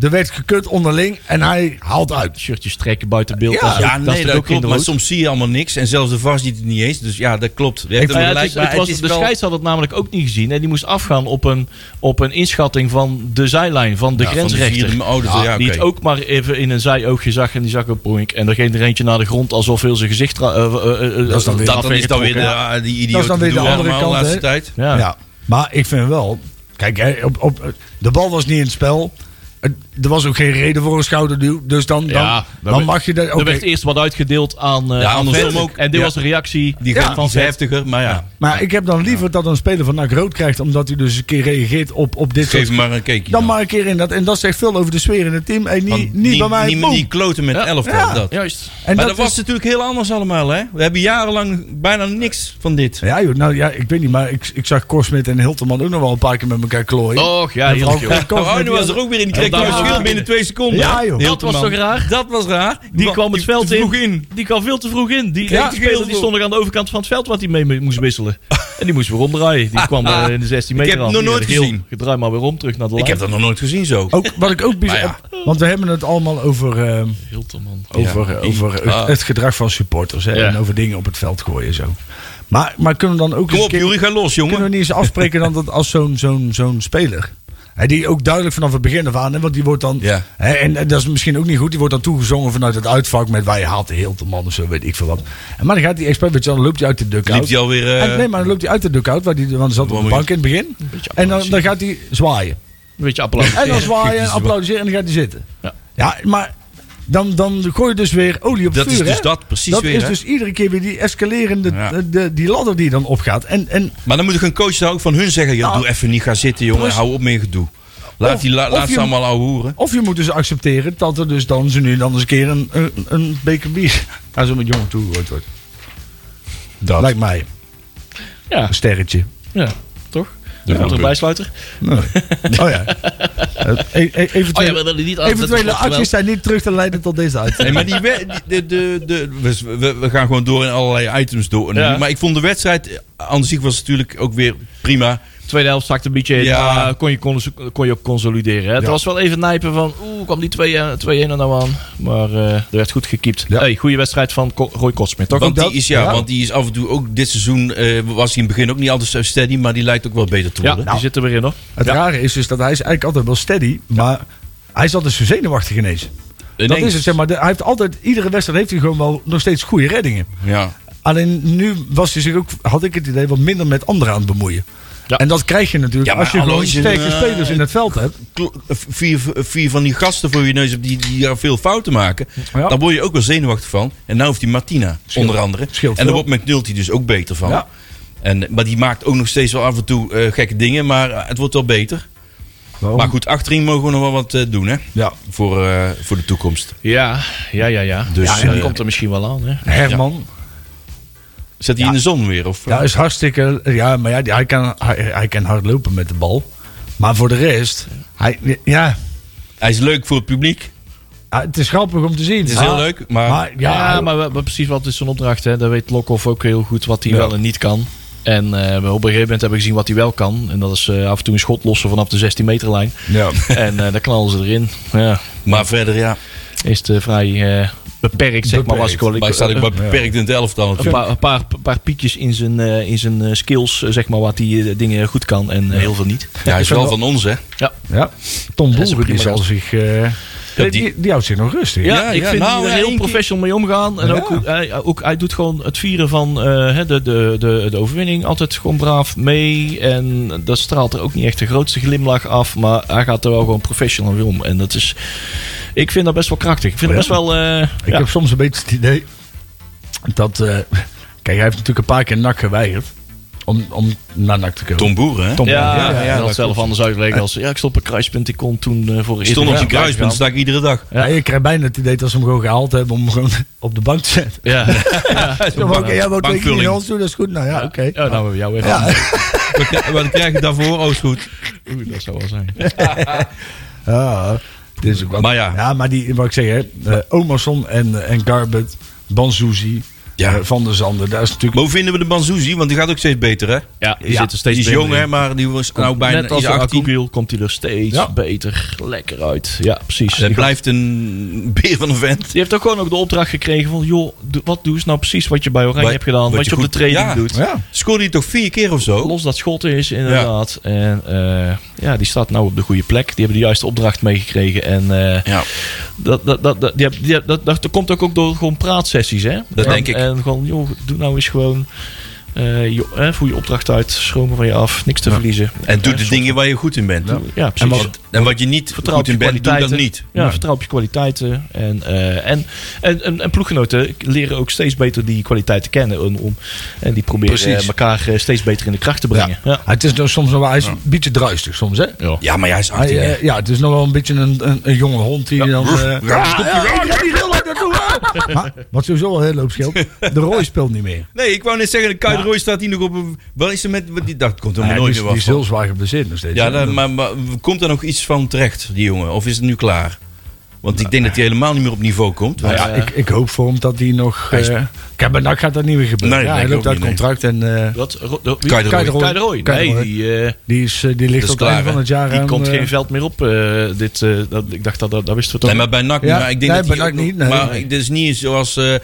B: Er werd gekut onderling en hij haalt uit.
C: shirtjes trekken buiten beeld.
B: Ja,
C: dat is ook-
A: Ja,
C: dat is
A: nee,
C: toch
A: dat
C: ook geen
A: klopt. Maar
C: rood?
A: soms zie je allemaal niks. En zelfs de VAR ziet het niet eens. Dus ja, dat klopt. Je hebt
C: Nou ja, het
A: hem gelijk,
C: is-
A: maar
C: het was-
A: het is
C: de
A: wel-
C: scheids had het namelijk ook niet gezien. En die moest afgaan op een, op een inschatting van de zijlijn, van de
A: Ja, van
C: grensrechter.
A: vierde- oh, dat-
C: Ja,
A: ja,
C: Die
A: oké.
C: het ook maar even in een zijoogje zag. En die zag een poink. En dan ging er eentje naar de grond alsof heel zijn gezicht... tra- eh, eh, eh,
B: Dat is dan weer-
A: Dat dan is dan weer de,
C: Ja,
A: ah, die
B: Dat is dan
A: idioot
B: weer de
A: gedoe
B: andere
A: allemaal de
B: kant,
A: laatste
B: hè?
A: tijd.
B: Ja.
C: ja.
B: Maar ik vind wel... Kijk, hè, op, op, de bal was niet in het spel. Het- Er was ook geen reden voor een schouderduw. Dus dan, dan,
C: Ja,
B: dan,
C: dan werd-
B: mag je... dat-
C: Er
B: oké.
C: werd eerst wat uitgedeeld aan, eh
A: Ja,
C: aan
A: andersom
C: Vet.
A: ook.
C: En dit
A: Ja.
C: was de reactie
A: Die
B: Ja.
A: gaat iets
C: Vet.
A: heftiger, maar ja.
B: Maar ik heb dan liever dat een speler van NAC rood krijgt... omdat hij dus een keer reageert op, op dit
A: Geef
B: soort...
A: hem maar een keekje.
B: Dan maar een keer in dat. En dat zegt veel over de sfeer in het team. En
A: Want
B: niet, niet bij mij.
A: Niet,
B: boem.
A: niet kloten met
C: Ja.
A: elftal,
B: Ja.
A: dat.
C: Juist.
B: en
A: maar dat, was
B: is-
A: natuurlijk heel anders allemaal, hè? We hebben jarenlang bijna niks van dit.
B: Ja, joh, nou ja, ik weet niet, maar ik, ik zag Korsmit en Hilterman ook nog wel een paar keer met elkaar klooien.
C: Och, ja,
B: En vooral
C: heerlijk, joh.
B: Korsmit,
A: Oh, nu
B: die
A: Oh, was
B: had-
A: er ook weer in. Die kreeg
C: Ja,
A: nou
C: ja.
A: schild binnen twee seconden.
B: Ja, joh.
C: Dat was
A: Hilterman.
C: toch raar?
A: Dat was raar.
C: Die kwam het veld
A: vroeg
C: in. Die kwam veel te vroeg in. Die,
A: Ja,
C: die speler die
A: veel
C: stond nog aan de overkant van het veld wat hij mee mo- moest wisselen. En die moest weer omdraaien. Die kwam eh, in de 16
A: Ik
C: meter
A: heb
C: aan.
A: het nog
C: Die
A: nooit
C: werd heel-
A: gezien.
C: Gedraai maar weer om terug naar de lijn.
A: Ik heb dat nog nooit gezien zo.
B: Ook, wat ik ook bizar...
A: Maar
B: Want we hebben het allemaal over, ehm,
C: Hilterman.
B: over, eh, over het-
A: Ah.
B: het gedrag van supporters. Hè,
C: Ja.
B: En over dingen op het veld gooien en zo. Maar, maar kunnen we dan ook
A: Kom
B: eens
A: op,
B: een keer-
A: jullie gaan los, jongen.
B: Kunnen we niet eens afspreken dan dat als zo'n zo'n zo'n speler. Hè, die ook duidelijk vanaf het begin af aan. Hè, want die wordt dan.
A: Ja.
B: Hè, en, eh, dat is misschien ook niet goed. Die wordt dan toegezongen vanuit het uitvak. Met wij haalt de heel de man of zo, weet ik veel wat. En maar dan gaat die expert. Weet je, wel, dan loopt hij uit de dugout.
A: Liep hij alweer... eh,
B: En- nee, maar dan loopt hij uit de dugout. Waar die, want hij zat op de bank in het begin.
C: beetje
B: En dan, dan gaat hij zwaaien.
C: Een beetje applaus.
B: En dan zwaaien en applaudisseren. En dan gaat hij zitten.
C: Ja.
B: ja maar. Dan, dan gooi je dus weer olie op het
A: Dat is
B: vuur.
A: dus
B: hè?
A: dat, precies
B: dat
A: weer,
B: is
A: hè?
B: dus iedere keer weer die escalerende
A: Ja.
B: de, de- die ladder die dan opgaat. En, en
A: Maar dan moet ik een coach daar ook van hun zeggen... Ja,
B: Nou,
A: doe even niet, ga zitten, jongen.
B: plus-
A: Hou op met je gedoe. Laat, die, la-
B: of
A: laat ze
B: je-
A: allemaal ouwe hoeren.
B: Of je moet dus accepteren dat er dus dan zo nu en dan eens een keer een, een, een beker bier aan zo'n jongen toegegooid wordt.
A: Dat.
B: Lijkt mij.
C: Ja,
B: Een sterretje.
C: ja, toch?
A: Ja.
C: Ja, een bijsluiter.
B: Nee. Oh ja. Eh, e- e-
C: Oh ja,
B: eventuele
C: maar dat is niet altijd- dat
B: eventuele
C: klopt wel.
B: acties zijn niet terug te leiden tot deze uit.
A: Nee, maar die, we- die- de, de, de, we, we- we gaan gewoon door in allerlei items door.
C: Ja.
A: Maar ik vond de wedstrijd... eh, Aan zich was het natuurlijk ook weer prima.
C: Tweede helft zakte een beetje in.
A: Ja.
C: maar kon, je cons- kon je ook consolideren. Hè? Het
B: Ja.
C: was wel even nijpen van... Oeh, kwam die 2-1 er nou aan? Maar eh, er werd goed gekiept.
B: Ja.
C: Hey, goede wedstrijd van Ko Roy Kotsmit, toch?
A: Want
B: dat?
A: die, is, ja,
B: Ja.
A: want die is af en toe ook dit seizoen... eh, was hij in het begin ook niet altijd zo steady... maar die lijkt ook wel beter te
C: ja,
A: worden.
B: Nou,
A: Dus,
C: die zit er weer in, hoor.
B: Het rare is dus dat hij is eigenlijk altijd wel steady, maar hij is altijd zo zenuwachtig ineens. Dat
A: eh, Ineens.
B: is het, zeg maar. De- Hij heeft altijd, iedere wedstrijd heeft hij gewoon wel nog steeds goede reddingen.
A: Ja.
B: Alleen nu was hij zich ook, had ik het idee, wat minder met anderen aan het bemoeien.
C: Ja.
B: En dat krijg je natuurlijk
A: Ja, maar
B: als je gewoon
A: als je,
B: sterke
A: eh,
B: spelers in het veld hebt.
A: kl- vier, vier van die gasten voor je neus hebt die, die daar veel fouten maken.
B: Ja.
A: Dan word je ook wel zenuwachtig van. En nou heeft die Martina onder andere.
B: scheelt
A: en daar
B: veel.
A: wordt McNulty dus ook beter van.
B: Ja.
A: En, maar die maakt ook nog steeds wel af en toe eh, gekke dingen. Maar eh, het wordt wel beter. Maar goed, achterin mogen we nog wel wat eh, doen hè?
B: Ja,
A: Voor, eh, voor de toekomst.
C: Ja, ja, ja, ja.
A: Dus,
C: Dus
A: Ja, en
B: die-
C: komt er misschien wel aan, hè?
B: Herman.
A: Zet hij in de zon weer? Of, eh?
B: Ja, is hartstikke. Ja, maar ja, die- hij, kan, hij, hij kan hard lopen met de bal. Maar voor de rest, hij, ja,
A: Hij is leuk voor het publiek.
B: ah, het is grappig om te zien.
A: Het is heel leuk, maar,
B: Maar
C: Ja,
B: ja,
C: maar we- we- precies wat is zijn opdracht. Hè? Daar weet Lokhoff ook heel goed wat hij
B: Ja.
C: wel en niet kan. En eh, we op een gegeven moment hebben we gezien wat hij wel kan. En dat is eh, af en toe een schot lossen vanaf de 16 meter lijn.
B: ja.
C: en eh daar knallen ze erin. Ja,
A: maar verder ja.
C: is het eh, vrij eh, beperkt, zeg maar. Was ik wel,
A: Maar hij staat ook
C: eh,
A: maar beperkt in het elftal
C: een
A: natuurlijk.
C: paar, een paar, een paar piekjes in zijn, eh, in zijn eh, skills, eh, zeg maar, wat hij eh, dingen goed kan en eh, heel veel niet.
A: Ja, hij is wel van ons hè.
B: ja. Tom
C: Dat is een
B: Boeren die
C: prima
B: zal
C: gast.
B: zich. eh,
A: Ja,
B: die,
A: die-
B: die houdt zich nog rustig.
C: Ja,
A: Ja,
C: ik
A: ja,
C: vind
A: nou,
C: hij er
A: één
C: heel
A: keer-
C: professional mee omgaan. En
B: Ja.
C: ook, hoe- hij, ook, hij doet gewoon het vieren van eh, hè, de, de, de, de overwinning altijd gewoon braaf mee. En dat straalt er ook niet echt de grootste glimlach af. Maar hij gaat er wel gewoon professional mee om. En dat is... Ik vind dat best wel krachtig. Ik vind
B: Ja.
C: het best wel... eh,
B: Ik
C: ja.
B: heb soms een beetje het idee dat. eh, kijk, hij heeft natuurlijk een paar keer nak geweigerd om, om naar nak te komen.
A: Tom Boeren hè.
B: Tom
C: ja,
B: Boeren,
C: ja,
A: ja,
C: dat
A: dat
C: zelf anders uitleggen als... Ja, ik stond op een kruispunt. Ik kon toen eh, voor...
A: Ik stond op
C: eerst-
A: zijn kruispunt, sta ik iedere dag.
B: Ja, je krijgt bijna het idee dat ze hem gewoon gehaald hebben om hem gewoon op de bank te zetten.
C: Ja.
B: Ja, maar oké, jij wou twee keer
A: Bankvulling.
B: in ons doen, dat is goed. Nou ja, oké.
C: Ja, nou hebben we jou even.
B: Ja.
A: Wat krijg- Wat krijg je daarvoor? Oh, is goed.
C: Oeh, dat zou wel zijn.
B: Ja, dit is ook wel-
A: Maar ja.
B: maar die, wat ik zeg, hè, eh, Omerson en, eh, en Garbet, Banzuzi,
A: Ja.
B: eh, Van der Zanden, daar is natuurlijk...
A: Maar hoe vinden we de Banzuzi? Want die gaat ook steeds beter, hè?
C: Ja, die
B: Ja,
C: zitten steeds
A: Die is
C: minder
A: jong,
C: in.
A: hè, maar die was nou
C: Komt
A: bijna
C: Net als
A: is
C: de
A: 18.
C: Akukiel komt hij er steeds
B: Ja.
C: beter lekker uit. Ja, precies. Die
A: Hij
C: gaat-
A: blijft een beer van een vent.
C: Die heeft ook gewoon ook de opdracht gekregen van... joh, doe- wat doe eens nou precies wat je bij Oranje
A: Wat-
C: hebt gedaan. Wat,
A: wat
C: je,
A: je
C: op de
A: goed-
C: training
A: ja.
C: doet.
B: Ja,
A: Scoorde hij toch vier keer of zo?
C: Los dat schot is, inderdaad. En eh, ja, die staat nou op de goede plek. Die hebben de juiste opdracht meegekregen. En eh,
A: Ja.
C: dat, dat, dat, dat, die heb- die heb- dat, dat, dat komt ook, ook door gewoon praatsessies, hè?
A: Dat
C: en,
A: denk ik.
C: En gewoon, joh, doe nou eens gewoon... eh, je, eh, voer je opdracht uit, schromen van je af, niks te verliezen.
A: En doe
C: Eh,
A: de
C: soort-
A: dingen waar je goed in bent.
C: Ja, precies.
A: En, wat, en wat je niet
C: Vertrouw op
A: goed
C: je
A: in bent, doe dat
C: kwaliteiten.
A: niet.
C: Ja, vertrouw op je kwaliteiten. En, eh, en, en, en, en ploeggenoten leren ook steeds beter die kwaliteiten kennen. Om, om- en die proberen
A: Precies.
C: elkaar eh, steeds beter in de kracht te brengen. Ja.
B: het is nog soms nog wel, hij is een beetje druistig soms, hè?
A: Ja, maar jij is
B: Hij,
A: 18, hè?
B: eh, ja, het is nog wel een beetje een, een, een jonge hond die dan... eh,
A: Ruff, ruff, stop.
B: ja, ik heb die heel lang naartoe, hè. Maar, wat sowieso wel heel hoop scheelt, de Roy speelt niet meer.
A: Nee, ik wou net zeggen, de Kuit Roy staat hier nog op een... Wat is er met... wat Die, dat komt helemaal
B: Ja, die,
A: nooit
B: is-
A: meer
B: die
A: wat
B: is
A: van.
B: heel zwaar geblesseerd nog steeds.
A: Ja,
B: hè.
A: dan- maar, maar komt er nog iets van terecht, die jongen? Of is het nu klaar? Want ik denk dat hij helemaal niet meer op niveau komt.
B: Nou ja,
C: Ja, ja.
B: ik, ik hoop voor hem dat hij nog...
A: Hij is-
B: eh, Kijk, maar NAC gaat dat niet meer gebeuren.
A: Nee,
B: ja,
A: denk
B: hij
A: ik
B: loopt
A: ook
B: uit
A: niet, nee.
B: contract en eh,
C: Wat? Ro- ro- wie?
A: Kuit de Roy.
B: Kuit de Roy.
C: Kuit de Roy.
B: Kuit de
C: Nee,
B: Roy.
C: die, eh,
B: die, is, eh, die ligt
A: is
B: tot het
A: klaar,
B: einde van
A: hè.
B: het jaar
C: die
B: aan,
C: komt
B: eh,
C: geen veld meer op. eh, dit, eh, dat, ik dacht, dat, dat, dat wisten we toch.
A: Nee, maar bij NAC niet.
B: Ja,
A: maar ik denk
B: nee,
A: dat
B: bij
A: hij ook
B: NAC niet,
A: nog-
B: nee,
A: maar
B: nee.
A: het is niet zoals eh,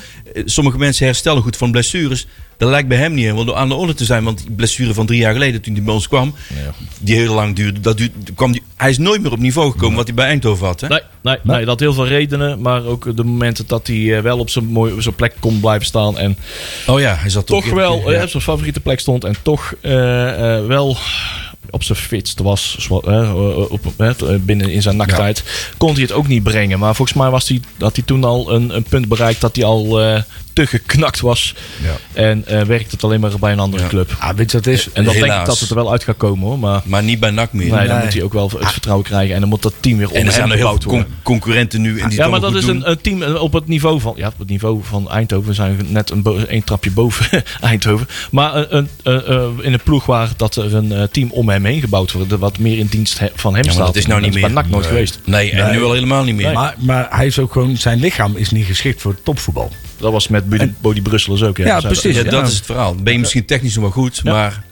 A: sommige mensen herstellen goed van blessures. Dat lijkt bij hem niet helemaal aan de orde te zijn. Want die blessure van drie jaar geleden toen hij bij ons kwam, die heel lang duurde. Dat duurde kwam die, hij is nooit meer op niveau gekomen wat hij bij Eindhoven had. Hè?
C: Nee, nee, nee, dat had heel veel redenen. Maar ook de momenten dat hij eh, wel op zijn, mooi, op zijn plek kon blijven staan. En
A: Oh ja, hij zat
C: toch
A: op-
C: wel
A: ja.
C: eh, op zijn favoriete plek stond en toch eh, eh, wel op zijn fitst was zwa- eh, op, op- eh, binnen in zijn naktijd kon hij het ook niet brengen maar volgens mij was hij had hij toen al een, een punt bereikt dat hij al eh, te geknakt was
B: Ja.
C: en eh werkte het alleen maar bij een andere
A: Ja.
C: club
B: Ah, weet je wat het is?
C: en dan denk ik
A: Helaas.
C: dat het er wel uit gaat komen hoor maar
A: Maar niet bij NAC meer.
C: nee, dan
B: Nee.
C: moet hij ook wel het vertrouwen krijgen en dan moet dat team weer
A: En er
C: onder
A: zijn
C: hem
A: er heel
C: gebouwd
A: veel con-
C: worden
A: concurrenten nu. En die
C: ja,
A: het
C: maar dat
A: allemaal
C: is
A: goed doen.
C: een, een team eh, op het niveau van. Ja, op het niveau van Eindhoven zijn we net een, bo- een trapje boven Eindhoven. Maar een, een, eh, eh, in een ploeg waar dat er een eh, team om hem heen gebouwd wordt. Wat meer in dienst he- van hem
A: Ja,
C: staat.
A: maar dat is nou niet
C: bij
A: meer.
C: NAC nooit
A: Nee.
C: geweest.
A: Nee, en nu al helemaal niet meer.
B: Maar, maar hij is ook gewoon, zijn lichaam is niet geschikt voor topvoetbal.
C: Dat was met Budi- Bodi Brusselers ook. Ja,
B: Ja,
C: Zij-
B: precies.
A: Ja,
B: Ja.
A: dat is het verhaal. Ben je misschien technisch nog wel goed, maar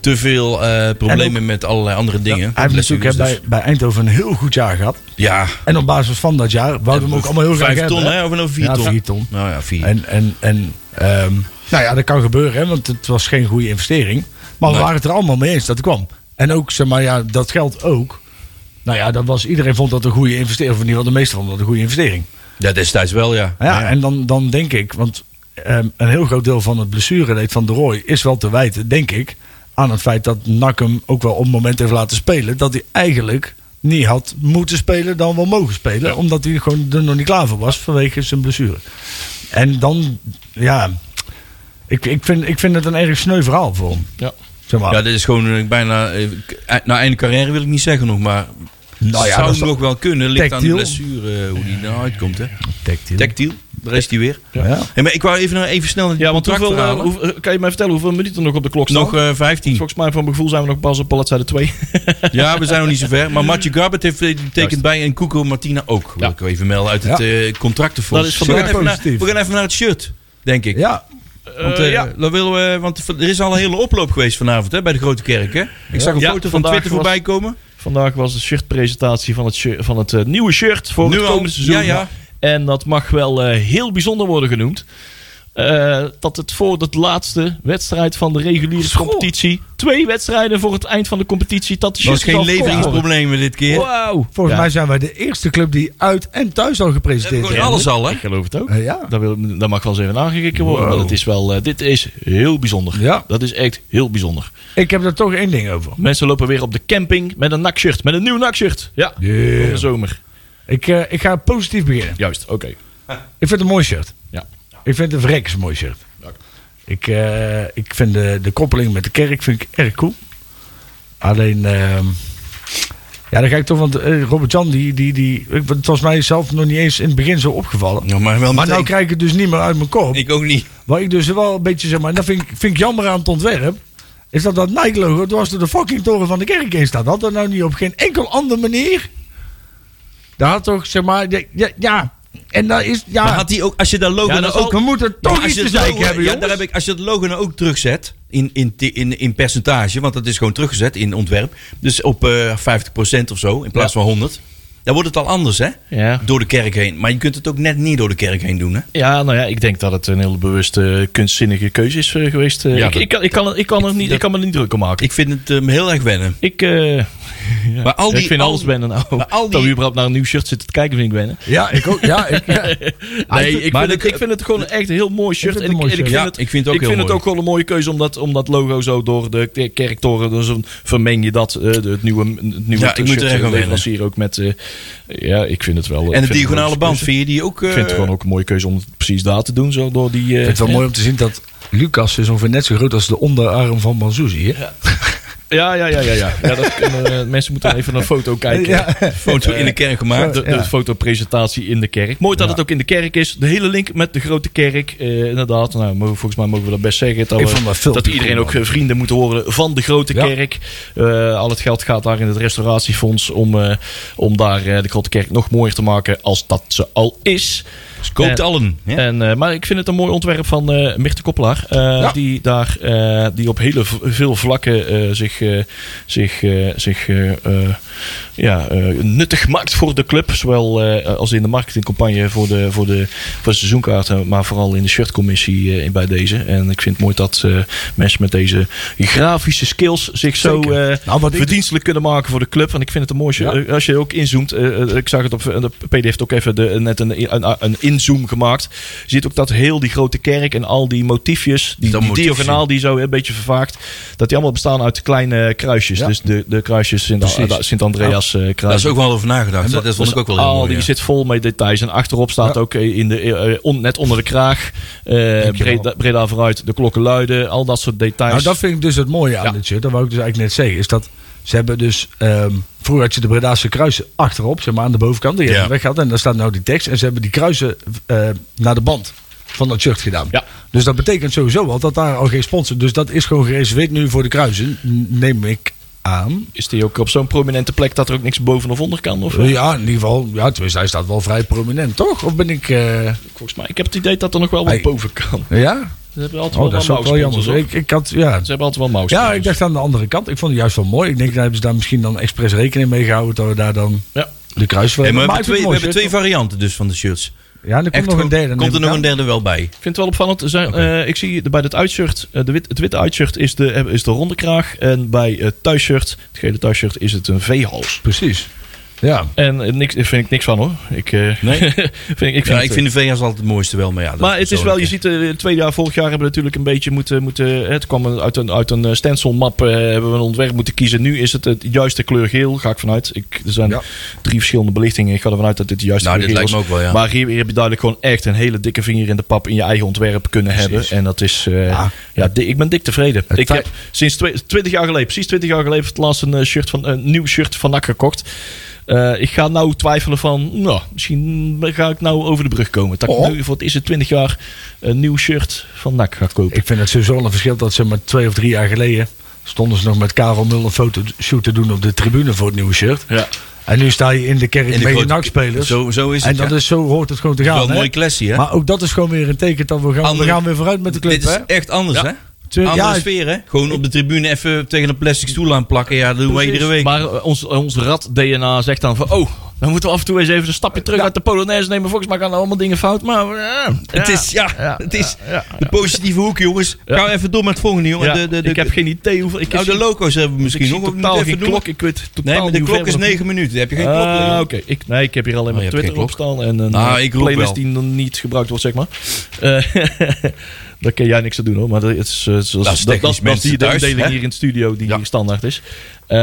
A: te veel eh, problemen met allerlei andere dingen.
B: Hij heeft natuurlijk hè,
A: Blessures
B: bij, bij Eindhoven een heel goed jaar gehad.
A: dus. Ja,
B: En op basis van dat jaar wouden we hem ook allemaal heel graag
A: vijf ton
B: hebben.
A: hè, of nou vier
B: Ja,
A: ton.
B: vier ton.
A: Nou ja, vier.
B: En, en, en ehm, nou ja, dat kan gebeuren, hè, want het was geen goede investering. Maar we
A: Nee.
B: waren het er allemaal mee eens dat het kwam. En ook, zeg maar, ja, dat geldt ook. Nou ja, dat was, iedereen vond dat een goede investering. Of in ieder geval de meeste vonden dat een goede investering.
A: ja, destijds wel, ja.
B: Ja, en dan, dan denk ik, want ehm, een heel groot deel van het blessureleed van de Roy is wel te wijten, denk ik, aan het feit dat Nak hem ook wel op het moment heeft laten spelen dat hij eigenlijk niet had moeten spelen, dan wel mogen spelen, omdat hij gewoon er nog niet klaar voor was vanwege zijn blessure. En dan, ja, ik, ik, vind, ik vind het een erg sneu verhaal voor hem.
C: Ja.
B: Zeg maar.
A: Ja, dit is gewoon eh, bijna... eh, k- Na einde carrière wil ik niet zeggen nog, maar...
B: Nou ja,
A: zou
B: dat is
A: nog wel kunnen. Ligt aan de
B: Tactiel.
A: blessure, eh, hoe die eruit komt, hè.
B: Tactiel.
A: Tactiel? daar is hij weer.
C: Ja.
B: Ja.
A: Hey, maar ik wou even, naar- even snel naar die
C: Ja, want hoeveel, eh,
A: contractverhalen.
C: hoe- eh, kan je mij vertellen hoeveel minuten er nog op de klok staan? Dus
A: Nog eh, 15.
C: Volgens mij, van mijn gevoel, zijn we nog pas op bladzijde 2.
A: Ja, we zijn nog niet zo ver. Maar Matje Garbert heeft eh, die tekent bij en Cuco Martina ook. Wil
C: Ja.
A: ik wel even melden uit het eh contractenfonds.
C: Dat is
A: we, gaan
C: vandaag
A: even naar,
B: positief.
A: we gaan even naar het shirt, denk ik.
B: Ja,
A: Want, eh, dat willen we, want er is al een hele oploop geweest vanavond hè, bij de Grote Kerk. Hè? Ik zag een
C: Ja,
A: foto van
C: vandaag
A: Twitter
C: was-
A: voorbij komen.
C: Vandaag was de shirtpresentatie van het, shir- van het eh, nieuwe shirt voor
A: Nu
C: het
A: al.
C: komende seizoen.
A: Ja, ja.
C: En dat mag wel eh, heel bijzonder worden genoemd. Eh, dat het voor de laatste wedstrijd van de reguliere competitie. Twee wedstrijden voor het eind van de competitie. Dat de
A: Er was
C: shirtjes
A: geen
C: al verkocht worden.
A: leveringsproblemen dit keer.
C: Wauw.
B: volgens
C: Ja,
B: mij zijn wij de eerste club die uit en thuis al
A: Ze hebben
B: gepresenteerd
A: gewoon
B: is.
A: alles al, hè?
C: Ik geloof het ook.
B: Eh, ja.
C: Dat, wil, dat mag wel eens even aangekeken worden.
B: Wow.
C: Maar het is wel, eh, dit is heel bijzonder.
B: Ja.
C: Dat is echt heel bijzonder.
B: Ik heb er toch één ding over.
C: Mensen lopen weer op de camping met een nakshirt. Met een nieuw nakshirt. Ja. Voor de zomer.
B: Ik, eh, ik ga positief beginnen.
C: Juist. Oké.
B: Ik vind het een mooi shirt.
C: Ja.
B: Ik vind het een verrekkers mooi shirt.
C: Dank.
B: Ik, eh, ik vind de, de koppeling met de kerk vind ik erg cool. Alleen, ehm, ja, dan ga ik toch, want eh, Robert-Jan, die, die, die, ik- het was mij zelf nog niet eens in het begin zo opgevallen.
A: Ja, maar wel
B: Maar nou
A: meteen.
B: krijg ik het dus niet meer uit mijn kop.
A: Ik ook niet.
B: Waar ik dus wel een beetje zeg maar, en dat vind ik, vind ik jammer aan het ontwerp. Is dat dat Nike-logo dwars door de fucking toren van de kerk heen staat? Had dat nou niet op geen enkel andere manier? Daar had toch zeg maar, ja, ja, ja. en dat is, ja.
A: Maar had hij ook, als je dat logo
C: Ja,
A: nou
C: dat
A: ook...
B: we moeten
A: Maar
B: toch
A: als
B: iets
A: je
B: te
A: het
B: zeggen
A: logo-
B: hebben,
A: ja, daar heb ik, als je het logo nou ook terugzet in, in, ti- in, in percentage, want dat is gewoon teruggezet in ontwerp. Dus op eh 50% of zo, in plaats
C: Ja.
A: van 100. Dan wordt het al anders, hè?
C: Ja.
A: Door de kerk heen. Maar je kunt het ook net niet door de kerk heen doen, hè?
C: Ja, nou ja, ik denk dat het een heel bewuste, kunstzinnige keuze is eh, geweest. Eh,
A: Ja,
C: ik,
A: dat-
C: ik, kan, ik, kan, ik, kan er niet, ik kan me er niet druk om maken. Ik,
A: Ik vind het eh, heel erg wennen.
C: eh, ja.
A: Maar al die-
C: ik vind
A: al-
C: alles wennen nou.
A: maar al die-
C: Dat we überhaupt naar een nieuw shirt zitten te kijken vind ik wennen.
B: Ja, ik ook. Ja, ik, ja.
C: Nee,
A: ik
C: ik,
A: vind- maar
C: vind het,
A: de-
C: ik vind het gewoon echt een heel mooi shirt.
B: vind het
C: En ik,
B: een mooi
C: en ik
B: shirt.
C: vind,
A: Ja,
C: het,
A: ik vind het ook
C: ik
A: heel
C: vind het
A: mooi.
C: ook gewoon een mooie keuze om dat, om dat logo zo door de k- kerktoren. Dus dan vermeng je dat, eh, de- het nieuwe, het nieuwe
A: Ja, ik moet er echt aan wennen.
C: leverancier ook met. eh, ja, ik vind het wel. ik
A: En
C: vind
A: de
C: het
A: diagonale
C: wel-
A: band, vind je die ook... eh,
C: Ik vind het gewoon ook een mooie keuze om het precies daar te doen. Zo door die. eh,
B: Ik vind het
C: ja.
B: wel mooi om te zien dat Lucas is ongeveer net zo groot als de onderarm van Manzouzi. hè?
C: Ja, ja, ja, ja. ja. ja dat kunnen, eh, mensen moeten even naar een foto kijken.
A: foto in de kerk gemaakt.
C: De, de
B: Ja.
C: fotopresentatie in de kerk. Mooi dat het ook in de kerk is. De hele link met de grote kerk. eh, inderdaad, nou, mogen- volgens mij mogen we dat best zeggen. Dat,
B: Ik
C: we-
B: vond dat filmpje
C: iedereen
B: goed,
C: ook eh, vrienden moet worden van de grote
B: Ja.
C: kerk. Eh, al het geld gaat daar in het restauratiefonds om, eh, om daar eh, de grote kerk nog mooier te maken als dat ze al is.
A: Dus koopt
C: Eh,
A: allen. hè?
C: En, eh, maar ik vind het een mooi ontwerp van eh Mirte Koppelaar. eh, die, daar, eh, die op heel veel vlakken eh, zich, eh, zich, eh, zich eh, eh, ja, eh, nuttig maakt voor de club. Zowel eh, als in de marketingcampagne voor de, voor de, voor de seizoenkaarten. Maar vooral in de shirtcommissie eh, bij deze. En ik vind het mooi dat eh, mensen met deze grafische skills zich zo
B: Zeker.
C: eh,
B: Nou, wat ik-
C: verdienstelijk kunnen maken voor de club. En ik vind het een mooi.
B: Ja.
C: eh, Als je ook inzoomt, eh, eh, ik zag het op de PD heeft ook even de, net een, een, een inzoom gemaakt. Je ziet ook dat heel die grote kerk en al die motiefjes, die,
A: Dat
C: die
A: motiefje.
C: diagonaal die zo een beetje vervaagt, dat die allemaal bestaan uit kleine kruisjes.
B: Ja.
C: Dus de, de eh, kruisjes
B: Precies.
C: Sint-Andreas kruisjes.
A: Daar is ook wel over nagedacht. Dat, dat vond ik ook wel heel
C: dus al
A: mooi.
C: die
A: ja.
C: zit vol met details. En achterop staat
B: Ja.
C: ook eh, in de, eh, on- net onder de kraag. eh Breda, Breda vooruit, de klokken luiden. Al dat soort details.
B: Nou, dat vind ik dus het mooie aan
C: Ja.
B: dit shirt. Dat wou ik dus eigenlijk net zeggen. Is dat ze hebben dus... ehm, vroeger had je de Bredaanse kruisen achterop, zeg maar aan de bovenkant. Die
A: Ja.
B: hebben weg En daar staat nou die tekst. En ze hebben die kruisen eh, naar de band van dat shirt gedaan.
C: Ja.
B: Dus dat betekent sowieso al dat daar al geen sponsor... Dus dat is gewoon gereserveerd nu voor de kruisen. Neem ik aan.
C: Is die ook op zo'n prominente plek dat er ook niks boven of onder kan? Of?
B: Ja, in ieder geval. Ja, tenminste, hij staat wel vrij prominent, toch? Of ben ik... eh,
C: Volgens mij, ik heb het idee dat er nog wel wat
B: Hey.
C: boven kan.
B: ja?
C: Ze hebben altijd
B: Oh,
C: wel,
B: dat is ook wel jammer.
C: Ze
B: Ik, ik had, ja.
C: hebben altijd wel mouse.
B: ja, ik dacht aan de andere kant. Ik vond het juist wel mooi. Ik denk, daar hebben ze daar misschien dan expres rekening mee gehouden... dat we daar dan
C: Ja.
B: de kruis voor
A: Hey, maar we
B: hebben.
A: hebben, twee, we
B: Maar ik
A: hebben
B: vind
A: twee
B: het mooi,
A: varianten dus van de shirts.
B: shit. Ja, en er komt
A: Echt,
B: nog een derde.
A: Komt er nog een
B: derde?
A: derde wel bij?
C: Ik vind het wel opvallend. Er Zijn, eh, ik zie bij het uitshirt, eh, de wit, het witte uitshirt is de, eh, is de ronde kraag. En bij het thuisshirt, het gele thuisshirt, is het een V-hals.
B: Precies. Ja.
C: En eh, niks, daar vind ik niks van hoor. Ik, eh,
A: Nee?
C: vind, ik- ik vind,
A: Ja,
C: het,
A: ik vind de VA's altijd het mooiste wel. Maar, ja, dat
C: Maar het is wel, je
A: persoonlijk,
C: ziet, eh, twee jaar, vorig jaar hebben we natuurlijk een beetje moeten, moeten eh, het kwam een- uit een, uit een eh, stencilmap, eh, hebben we een ontwerp moeten kiezen. Nu is het het juiste kleur geel, ga ik vanuit. Ik, er zijn
B: Ja.
C: drie verschillende belichtingen, ik ga ervan uit dat dit de juiste
A: Nou,
C: kleur
A: dit
C: geel
A: lijkt me
C: is.
A: ook wel, ja.
C: Maar hier, hier heb je duidelijk gewoon echt een hele dikke vinger in de pap in je eigen ontwerp kunnen hebben. En dat is, eh,
B: Ja.
C: ja, di- ik ben dik tevreden.
B: Het
C: ik
B: feit-
C: heb sinds twe- 20 jaar geleden, precies 20 jaar geleden, voor het laatst een eh, shirt van, een nieuw shirt van NAC gekocht. Eh, Eh, ik ga nou twijfelen van, nou, misschien ga ik nou over de brug komen. Dat
B: Oh.
C: ik nu voor het eerste 20 jaar een nieuw shirt van NAC ga kopen.
B: Ik vind het sowieso wel een verschil dat ze maar twee of drie jaar geleden... stonden ze nog met Karel Mulder een fotoshoot te doen op de tribune voor het nieuwe shirt.
C: ja.
B: En nu sta je in de kerk
A: In de
B: met je
A: grote-
B: NAC-spelers.
A: Zo, zo is het.
B: En dat
A: ja.
B: is, zo hoort het gewoon te gaan.
A: wel een
B: hè?
A: mooie klassie, hè?
B: Maar ook dat is gewoon weer een teken dat we gaan,
A: Andere-
B: we gaan weer vooruit met de club.
A: Dit is
B: hè?
A: echt anders,
C: Ja.
A: hè?
B: Twee-
A: Andere
B: ja,
A: sfeer, hè? Gewoon op de tribune even tegen een plastic stoel aanplakken. Ja, dat doen we
B: Precies.
A: iedere week.
C: Maar eh, ons, eh, ons rat-DNA zegt dan van... Oh, dan moeten we af en toe eens even een stapje terug uit de Polonaise nemen. Volgens mij gaan er allemaal dingen fout, maar... eh,
A: het is, ja,
C: ja,
A: het is
C: ja, ja.
A: de positieve hoek, jongens.
C: Ja.
A: Ga even door met het volgende, jongen.
C: Ja,
A: de, de, de,
C: ik heb geen idee hoeveel... Ik
A: nou,
C: zie-
A: de loco's hebben we misschien
C: ik zie
A: nog. We moeten
C: totaal
A: even
C: geen
A: doen.
C: klok. Ik weet totaal
A: Nee, maar de
C: niet
A: klok
C: hoeveel
A: is
C: er-
A: 9 minuten. Heb je geen klok?
C: Ah,
A: Leon?
C: oké. Ik, nee, ik heb hier alleen
A: Oh,
C: maar
A: je hebt
C: Twitter
A: geen
C: op staan en een
A: Ah,
C: eh,
A: ik roep
C: playlist
A: wel.
C: die dan niet gebruikt wordt, zeg maar. Eh, daar kun jij niks aan doen hoor, maar dat is, eh, dat,
A: is
C: is-
A: technisch mensen
C: die de
A: thuis,
C: indeling
A: hè?
C: hier in het studio die
A: Ja.
C: hier standaard is.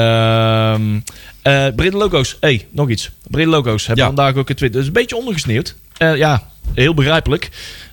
C: Ehm eh Brede Loco's, hey, nog iets. Brede Loco's hebben
A: Ja.
C: vandaag ook een Twitter. Dat is een beetje ondergesneeuwd. Eh, ja, heel begrijpelijk.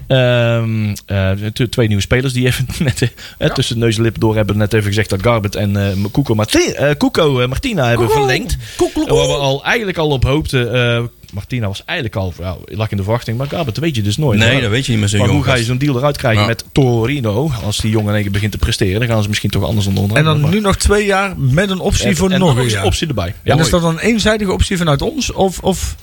C: Ehm, eh, t- twee nieuwe spelers die even net eh, tussen neus en lip door hebben net even gezegd dat Garbet en eh Cuco Marti- eh, Cuco, eh, Martina hebben verlengd. En Waar we al, eigenlijk al op hoopten. eh, Martina was eigenlijk al, ja, lag in de verwachting. Maar Garbet weet je dus nooit.
A: Nee,
C: Maar-
A: dat weet je niet meer zo,
C: maar
A: jongen.
C: hoe ga je zo'n deal eruit krijgen
A: Ja.
C: met Torino? Als die jongen in één keer begint te presteren, dan gaan ze misschien toch anders onder.
B: En dan nu nog twee jaar met een optie voor
C: en
B: nog
C: nog
B: een
C: eens
B: jaar.
C: optie erbij. Ja,
B: en
C: mooi.
B: is dat dan een eenzijdige optie vanuit ons? Of, of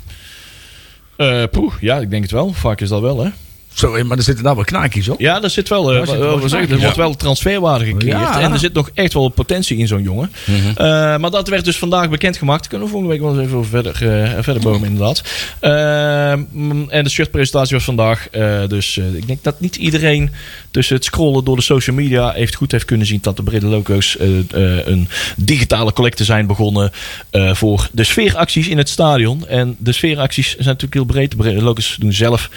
C: Eh, poeh, ja, ik denk het wel. Vaak is dat wel, hè?
B: zo, maar er zitten daar wel knaakjes op.
C: Ja, daar zit wel. eh,
B: Daar zit
C: wat-
B: wel
C: wat we zeggen,
B: smaak
C: er
B: in.
C: wordt wel transferwaarde gecreëerd.
B: Ja. Mhm.
C: En er zit nog echt wel potentie in zo'n jongen. Eh, maar dat werd dus vandaag bekendgemaakt. Kunnen we volgende week wel eens even over verder, eh, verder bomen, inderdaad. Eh, mm, en de shirtpresentatie was vandaag. Eh, dus eh, ik denk dat niet iedereen tussen het scrollen door de social media heeft goed heeft kunnen zien dat de Brede Loco's eh, eh, een digitale collecte zijn begonnen eh, voor de sfeeracties in het stadion. En de sfeeracties zijn natuurlijk heel breed. De Brede Loco's doen zelf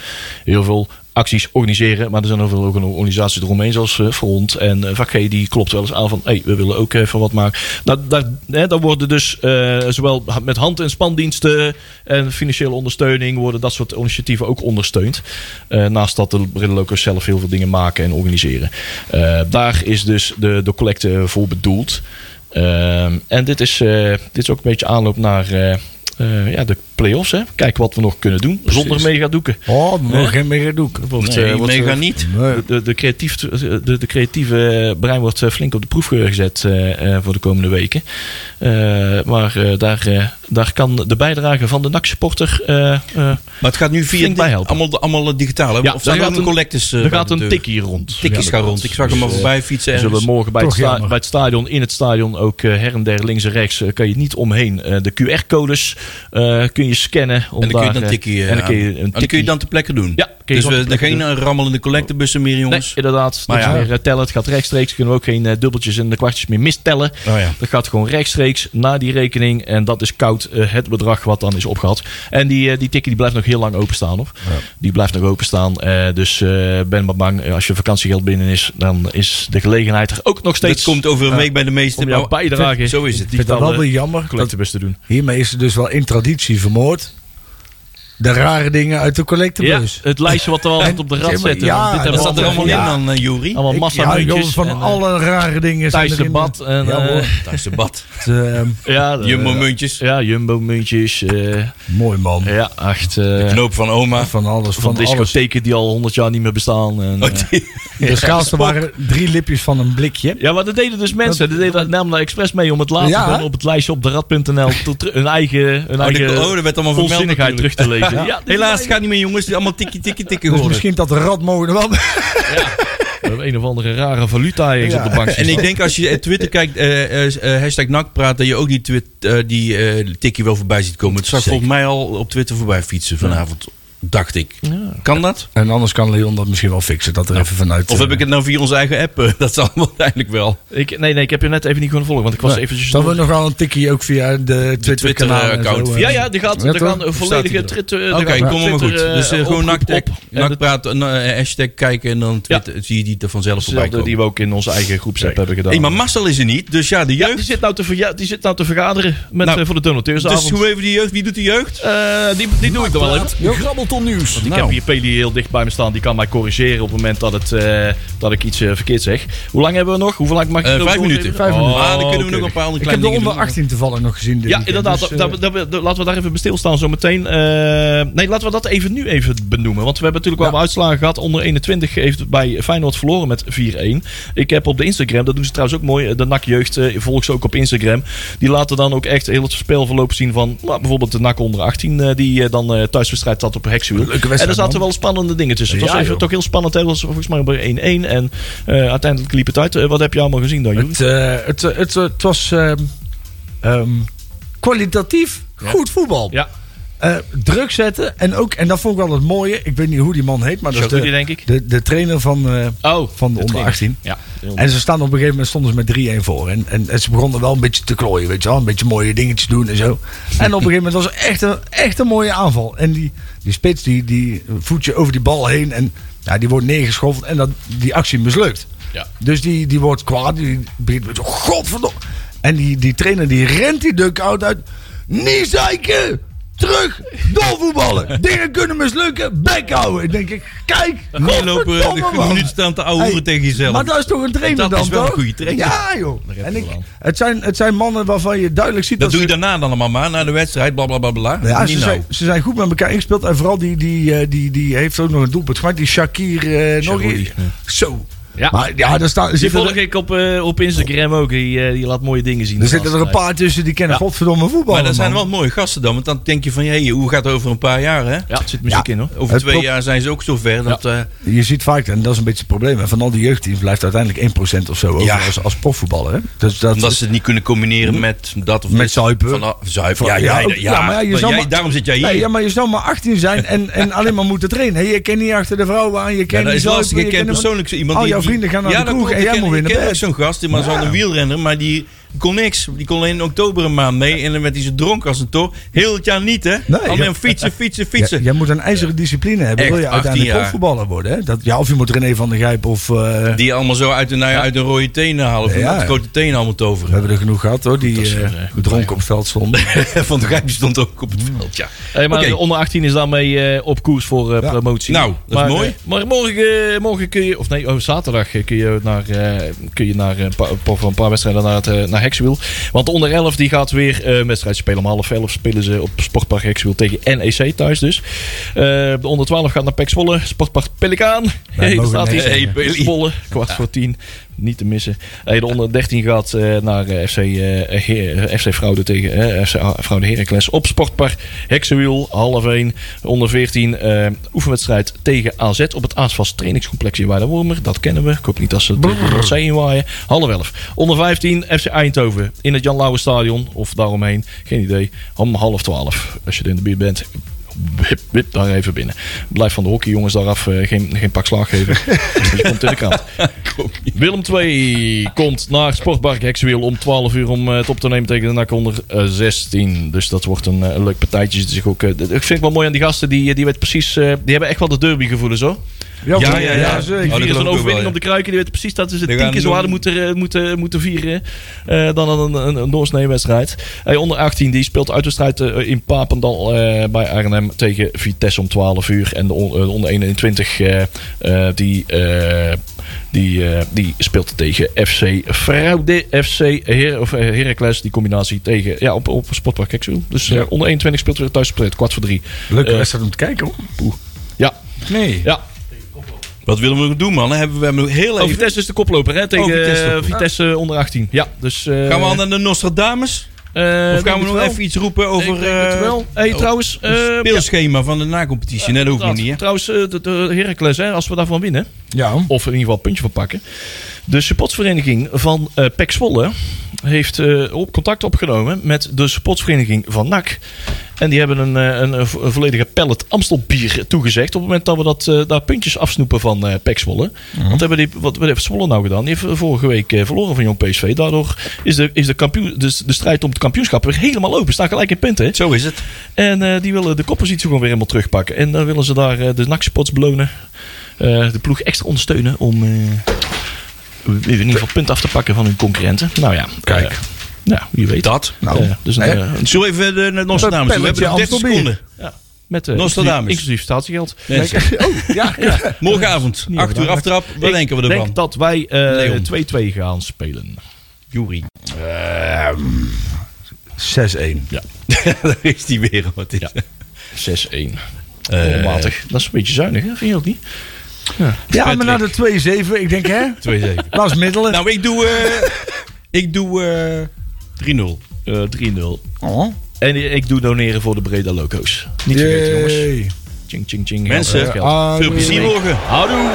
C: heel veel acties organiseren. Maar er zijn ook wel ook een organisaties eromheen, zoals eh, Front en eh, Vak-G, Die klopt wel eens aan van, hey, we willen ook even wat maken. Nou, daar, hè, daar worden dus eh, zowel ha- met hand- en spandiensten en financiële ondersteuning... worden dat soort initiatieven ook ondersteund. Eh, naast dat de Brillenlokers zelf heel veel dingen maken en organiseren. Eh, daar is dus de, de collecte voor bedoeld. Ehm, en dit is, eh, dit is ook een beetje aanloop naar... eh, eh, ja, de play-offs. Hè. Kijken wat we nog kunnen doen. Zonder megadoeken.
B: Oh, we mogen geen meer doek.
C: Wordt,
A: Nee,
C: eh, wordt,
A: mega
C: eh,
A: niet.
B: Nee.
C: de, de, de, creatief, de, de creatieve eh, brein wordt eh, flink op de proef gezet eh, eh, voor de komende weken. Eh, maar eh, daar, eh, daar kan de bijdrage van de NAC-supporter. eh, eh,
A: Maar het gaat nu via
C: Flink
A: di-
C: bijhelpen.
A: allemaal, allemaal eh, digitaal. Hè?
C: Ja,
A: of zijn
C: er
A: er
C: gaat
A: ook een
C: een-
A: collectus? eh,
C: er
A: bij
C: gaat
A: de
C: een
A: deur?
C: tikkie rond.
A: Tikkies
C: Ja,
A: gaan
C: dat-
A: rond. Ik zag hem
C: dus,
A: al
C: eh,
A: voorbij fietsen.
C: we
A: ergens.
C: zullen morgen bij het,
B: Toch
C: sta-
B: jammer.
C: bij het stadion, in het stadion, ook eh, her en der, links en rechts, eh, kan je niet omheen. Eh, de QR-codes eh, kun je scannen. Om
A: En dan kun je
C: daar,
A: dan
C: eh,
A: tikkie eh,
C: en dan kun je
A: aan.
C: een
A: En dan kun je
C: tikkie-
A: dan ter plekke doen.
C: Ja, kun je
A: Dus
C: dan
A: we,
C: ter plekke
A: geen eh, rammelende collectebussen meer, jongens.
C: Nee, inderdaad.
A: Maar
C: Maar
A: ja.
C: meer eh, tellen. Het gaat rechtstreeks. Kunnen we ook geen eh, dubbeltjes en de kwartjes meer mistellen.
A: Oh ja.
C: Dat gaat gewoon rechtstreeks naar die rekening. En dat is koud eh, het bedrag wat dan is opgehaald. En die, eh, die ticket die blijft nog heel lang openstaan. Hoor. Die blijft nog openstaan. Eh, dus eh, ben maar bang. eh, als je vakantiegeld binnen is, dan is de gelegenheid er ook nog steeds.
A: Dat komt over een week bij de meeste.
C: om jouw
A: maar-
C: bijdrage
A: Zo is het.
B: Ik Oh, vind dat wel
C: digitale
B: weer jammer. Dat,
C: collectebus te doen.
B: hiermee is het dus wel in traditie vermoord. De rare dingen uit de
C: Ja,
B: collectebus.
C: het lijstje wat er al altijd op de rad
B: Ja, maar-
C: zitten.
B: ja,
C: want dit hebben
A: Dat
C: we
A: zat er allemaal in
C: ja,
A: dan, eh, Juri.
C: Allemaal
B: Ik-
C: massa
B: ja, joh,
C: muntjes
B: van
C: en, eh,
B: alle rare dingen. zijn
C: Thijs de
B: erin.
C: Bad en,
B: Ja,
C: eh,
B: hoor.
A: Daar is de bad.
B: Het, eh,
C: Ja, de-
A: Jumbo muntjes.
C: Ja, jumbo-muntjes. eh,
B: mooi man.
C: ja, echt. eh,
A: Knoop van oma.
B: Van alles.
C: van
B: Van, alles.
C: discotheken die al 100 jaar niet meer bestaan. En,
A: Oh,
C: eh,
A: die-
B: De schaalste waren drie lipjes van een blikje.
C: ja, maar dat deden dus mensen. Dat, deden namelijk expres mee om het later
B: Ja,
C: gewoon
B: hè?
C: op het lijstje op de rad.nl tot ter- een eigen, een
A: Oh, die-
C: eigen
A: oh, dat werd allemaal vermeld
C: volzinnigheid
A: natuurlijk.
C: terug te lezen. Ja, dat is
A: Helaas, het
C: eigenlijk-
A: gaat niet meer, jongens. Het is Allemaal tikkie, tikkie, tikkie
B: Dus
A: geworden.
B: misschien dat de rat mogen er wel.
C: We hebben een of andere rare valuta ergens
B: Ja.
C: op de bank.
A: En ik denk als je eh, Twitter kijkt, eh, eh, eh, hashtag nakpraat, dat je ook die, twit, eh, die eh, tikkie wel voorbij ziet komen. Het zag
B: Zeker.
A: volgens mij al op Twitter voorbij fietsen vanavond, dacht ik. Kan dat?
B: En anders kan Leon dat misschien wel fixen. Dat er even vanuit.
A: Of heb
B: eh,
A: ik het nou via onze eigen app? eh, Dat zal uiteindelijk wel.
C: Ik- nee, nee, ik heb je net even niet kunnen volgen, want ik was
B: Nee.
C: eventjes...
B: Dan we nog wel een tikkie ook via de Twitter-kanaal. en
A: Twitter-account.
B: zo, eh.
C: Ja, ja, er gaat,
B: Ja,
C: er
B: toch?
C: gaan een volledige
A: Staat
C: trit... eh, er
A: Oké,
C: gaat een
A: kom maar goed.
C: Twitter, eh,
A: Dus eh, gewoon
C: oproep
A: nakpraat,
C: op. En dat-
A: nakpraat eh, eh, hashtag kijken en dan Twitter, zie je die er vanzelf voorbij
C: Hetzelfde
A: komen.
C: eh, die we ook in onze eigen groepsapp hebben gedaan.
A: Hey, maar Marcel is er niet, dus ja, de
C: ja, die,
A: jeugd.
C: zit nou te verja- die zit nou te vergaderen met,
A: Nou,
C: eh, voor de donateursavond.
A: dus hoe even die jeugd, wie doet de jeugd?
C: Eh, die, die doe ik er wel even.
B: Jo.
C: Grabbelton
E: Autonieuws.
C: Ik
A: Nou.
C: heb hier Peli heel dicht bij me staan. Die kan mij corrigeren op het moment dat, het, eh, dat ik iets eh, verkeerd zeg. Hoe lang hebben we nog? Hoeveel lang mag ik
A: Eh,
C: het
A: vijf
C: over-
A: minuten.
B: Vijf
C: Oh,
B: minuten.
A: ah, dan kunnen we
C: keurig.
A: nog een paar andere
B: Ik heb
A: kleine
B: de
A: dingen
B: onder
A: doen.
B: 18 toevallig nog gezien. dit
C: Ja,
B: weekend,
C: inderdaad.
B: dus, eh,
C: daar- daar- daar- laten we daar even bij stilstaan zometeen. Eh, nee, laten we dat even nu even benoemen. Want we hebben natuurlijk wel
B: Ja.
C: wat uitslagen gehad. Onder 21 heeft bij Feyenoord verloren met 4-1. Ik heb op de Instagram, dat doen ze trouwens ook mooi. De NAC-jeugd eh, volg ze ook op Instagram. Die laten dan ook echt heel het spelverloop zien van... Nou, bijvoorbeeld de NAC onder 18 eh, die eh, dan eh, thuiswedstrijd had op Hexwiel.
B: Leuke wedstrijd,
C: En er zaten
B: man.
C: wel spannende dingen tussen. Het
B: Ja,
C: was even
B: joh.
C: toch heel spannend. hè. Het was volgens mij bij 1-1. En eh, uiteindelijk liep het uit. Eh, wat heb je allemaal gezien dan, Joeri?
B: Het, eh, het, eh, het, eh, het was ehm, ehm, kwalitatief goed voetbal.
C: Ja,
B: Eh, druk zetten en ook, en dat vond ik wel het mooie. Ik weet niet hoe die man heet, maar dat is
C: Rudy
B: de,
C: denk ik.
B: de, de trainer van, eh,
C: Oh,
B: van de, onder
C: trainer.
B: 18.
C: Ja, heel
B: En ze staan op een gegeven moment stonden ze met 3-1 voor. En, en, en ze begonnen wel een beetje te klooien, weet je wel. Een beetje mooie dingetjes doen en zo. En op een gegeven moment was het echt een, echt een mooie aanval. En die, die spits, die, die voetje over die bal heen. En ja, die wordt neergeschoffeld en dat, die actie mislukt.
C: Ja.
B: Dus die, die wordt kwaad. Die begint met zo, godverdomme. En die, die trainer die rent die duck-out uit. Niet zeiken! Terug! Doorvoetballen! Dingen kunnen mislukken! Bek houden! Ik denk, kijk!
A: Nee, lopen eh,
B: godverdomme,
A: een
B: man.
A: minuut staan te ouwe
B: Hey,
A: hoeren tegen jezelf.
B: Maar dat is toch een trainer
A: Dat
B: dan,
A: is wel een
B: toch?
A: goede trainer.
B: Ja, joh.
C: heb
B: En
C: je
B: ik,
C: wel aan.
B: het, zijn, het zijn mannen waarvan je duidelijk ziet
A: Dat
B: dat,
A: doe je
B: ze...
A: daarna dan allemaal maar, na de wedstrijd, bla bla bla bla.
B: Ja,
A: Niet
B: ze,
A: nou.
B: zijn, ze zijn goed met elkaar ingespeeld. En vooral die, die, eh, die, die heeft ook nog een doelpunt gemaakt. Die Shakir eh nog
C: Sharoui,
B: iets. Zo.
C: Ja.
B: Maar ja, daar staan,
C: Die
B: zitten,
C: volg
B: er,
C: ik op, eh, op Instagram ook. Die, eh, die laat mooie dingen zien.
B: er zitten er een paar tussen die kennen
C: Ja.
B: godverdomme voetbal.
A: Maar dat zijn wel mooie gasten dan. Want dan denk je van, hey, hoe gaat het over een paar jaar, hè?
C: Ja, er zit muziek
B: Ja.
C: in hoor.
A: Over
B: Het
A: twee
B: pro-
A: jaar zijn ze ook zo ver. Dat, eh,
B: Je ziet vaak, en dat is een beetje het probleem. hè, Van al die jeugdteams blijft uiteindelijk 1% of zo over
A: Ja.
B: als, als profvoetballer. hè. Dus dat,
A: omdat ze het niet kunnen combineren met dat of
B: Met
A: dit.
B: zuipen.
A: Van, ah, zuipen,
B: Van-
A: ja,
B: ja,
A: jij-
B: ook-
A: ja,
B: ja, maar ja, je
A: maar
B: zal
A: jij-
B: maar-
A: daarom zit jij hier.
B: Nee, ja, maar je zou maar 18 zijn en, en alleen maar moeten trainen. hè. Je kent niet achter de vrouwen aan, je
A: Ja,
B: kent
A: dat
B: niet
A: is
B: zo.
A: lastig. Ik ken persoonlijk zo iemand
B: Al
A: die...
B: jouw
A: die-
B: vrienden gaan naar
A: ja,
B: de
A: dat
B: kroeg
A: klopt.
B: en
A: Ik
B: jij
A: ken-
B: moet weer naar
A: Ik ken ook
B: bed.
A: zo'n gast, die was al een wielrenner, maar die kon niks. Die kon alleen in oktober een maand mee en dan werd hij zo dronken als een tor. Heel het jaar niet, hè?
B: Nee,
A: Alleen
B: ja.
A: fietsen, fietsen,
B: Ja,
A: fietsen.
B: jij moet een ijzeren discipline hebben.
A: Echt,
B: wil je
A: 18
B: uiteindelijk
A: jaar.
B: profvoetballer worden? Hè? Dat, ja, of je moet René van der Gijp of... eh,
A: Die allemaal zo uit een, nou ja, uit een rode tenen halen. Van
B: Ja.
A: dat grote tenen allemaal
B: we
A: toveren.
B: hebben er genoeg gehad hoor, die eh, dronken op het veld stonden.
A: Van de Grijp stond ook op het
C: Mm.
A: veld, ja.
C: Eh, Hey, maar
A: Oké.
C: de onder 18 is daarmee eh, op koers voor eh,
B: Ja.
C: promotie.
A: Nou, dat is
C: maar,
A: mooi.
C: eh, maar morgen, eh, morgen kun je, of nee, oh, zaterdag eh, kun je naar, eh, kun je naar eh, een paar- voor een paar wedstrijden naar, het, eh, naar Hexwiel. Want de onder 11 die gaat weer eh, een wedstrijd spelen. Om half 11 spelen ze op Sportpark Hexwiel tegen NEC thuis dus. Eh, de onder 12 gaat naar Pek Zwolle, Sportpark Pelikaan. Hey, daar
B: mogen
C: staat
B: niks
C: hij.
A: zeggen. Hey, Peli.
C: eh, Zwolle, kwart voor 10. Niet te missen. Hey, de onder 13 gaat eh, naar eh, FC, eh, Heer- FC Fraude tegen eh, FC Fraude Heracles op Sportpark. Heksenwiel, half 1. Onder 14 eh, oefenwedstrijd tegen AZ op het Aasvast trainingscomplex in Weidewormer. Dat kennen we. Ik hoop niet dat ze het zee inwaaien. Half 11. Onder 15 FC Eindhoven in het Jan Lauwe Stadion of daaromheen. Geen idee. Om half 12. Als je er in de buurt bent. Wip, wip, daar even binnen. Blijf van de hockey, jongens, daar af. eh, geen, geen pak slaag geven. Dus je komt in de krant. Willem 2 komt naar Sportpark Hexwiel om 12 uur om eh, het op te nemen tegen de NAC onder eh, 16. Dus dat wordt een, eh, een leuk partijtje. Het is ook, eh, d- ik vind het wel mooi aan die gasten. Die, eh, die, weet precies, eh, die hebben echt wel de derby gevoelens hoor.
A: Ja, ja, ja.
B: zeker.
A: Oh, dat
C: Hier is
A: geloof
C: een
A: ik ook
C: overwinning
A: wel, ja.
C: op de kruiken. Die weten precies dat ze
A: Die
C: tien
A: gaan
C: keer zo harder
A: doen.
C: moeten, eh, moeten, moeten vieren eh, dan een, een, een doorsneewedstrijd. Hey, onder 18 die speelt uitwedstrijd eh, in Papendal eh, bij Arnhem tegen Vitesse om 12 uur. En de on- eh, onder 21 eh, eh, die, eh, die, eh, die speelt tegen FC Fraude, FC Her of, eh, Heracles. Die combinatie tegen, ja, op, op Sportpark Hexwiel. Dus eh, onder 21 speelt weer thuis op het kwart voor drie.
B: Leuke
C: Eh,
B: wedstrijd om te kijken hoor.
C: Ja,
B: Nee.
C: ja.
A: Wat willen we nog doen, man? Hebben we hebben nog heel
C: Oh,
A: even...
C: Vitesse is de koploper hè, tegen
A: Oh, Vitesse
C: eh,
A: koploper.
C: Vitesse onder 18. Ja, dus, eh,
A: Gaan we al naar de Nostradamus?
C: Eh,
A: Of gaan we
C: denk
A: nog
C: het
A: even iets roepen
C: wel.
A: over
C: Ik denk het
A: eh,
C: wel. Hey,
A: oh,
C: trouwens. eh,
A: het speelschema van de na-competitie? Net ook nog
C: inderdaad.
A: niet, hè?
C: Trouwens, eh, de, de Heracles, hè, als we daarvan winnen.
B: Ja.
C: Of in ieder geval een puntje van pakken. De supportvereniging van eh Pek Zwolle heeft eh, op contact opgenomen met de supportvereniging van NAC. En die hebben een, eh, een, een vo- een volledige pallet Amstelbier toegezegd. Op het moment dat we dat, eh, daar puntjes afsnoepen van eh Pek Zwolle.
A: Mhm.
C: Want hebben die, wat, wat heeft Zwolle nou gedaan? Die heeft vorige week eh, verloren van Jong PSV. Daardoor is, de, is de, kampioen, dus de strijd om het kampioenschap weer helemaal open. Staan gelijk in punten. hè?
A: Zo is het.
C: En eh, die willen de koppositie gewoon weer helemaal terugpakken. En dan willen ze daar eh, de nakspots belonen. eh, de ploeg extra ondersteunen om eh, in ieder geval punten af te pakken van hun concurrenten. Nou ja,
B: Kijk.
C: eh, nou, wie weet.
A: Dat.
B: Nou,
C: Eh, dus een,
B: hè?
C: eh, een-
A: Zullen we even eh, naar het Nostradamus? toe? We hebben nog 30
B: Pelletje
A: seconden.
C: Ja. Met, eh,
A: Nostradamus.
C: inclusief- Inclusief statiegeld.
A: Mensen,
B: Ja,
A: Morgenavond,
C: Niet
A: 8 uur
C: waar.
A: aftrap. Wat
C: Ik
A: denken we ervan?
C: denk dat wij eh,
A: Leon.
C: 2-2 gaan spelen.
A: Jury.
B: 6-1.
C: Ja,
A: Daar is die weer. Wat is.
C: Ja.
A: Ja.
C: 6-1.
A: Eh,
C: Onmatig. Dat is een beetje zuinig, hè? vind je dat niet?
B: Ja, maar na de 2-7, ik denk hè,
A: 2-7.
B: was middelen.
A: Nou, ik doe. eh, ik doe. eh, 3-0.
C: Eh, 3-0.
B: Oh.
C: En ik doe doneren voor de Breda Loco's. Niet vergeten, jongens.
B: Jee.
C: Ching, ching, ching.
A: Mensen, Ah,
C: Geld, geld.
A: Veel plezier morgen.
C: Ah, Houdoe!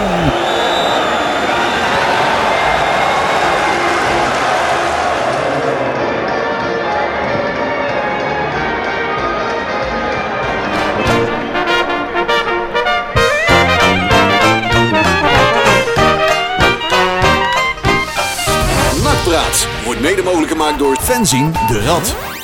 E: Nakpraat wordt mede mogelijk gemaakt door fanzine de Rad.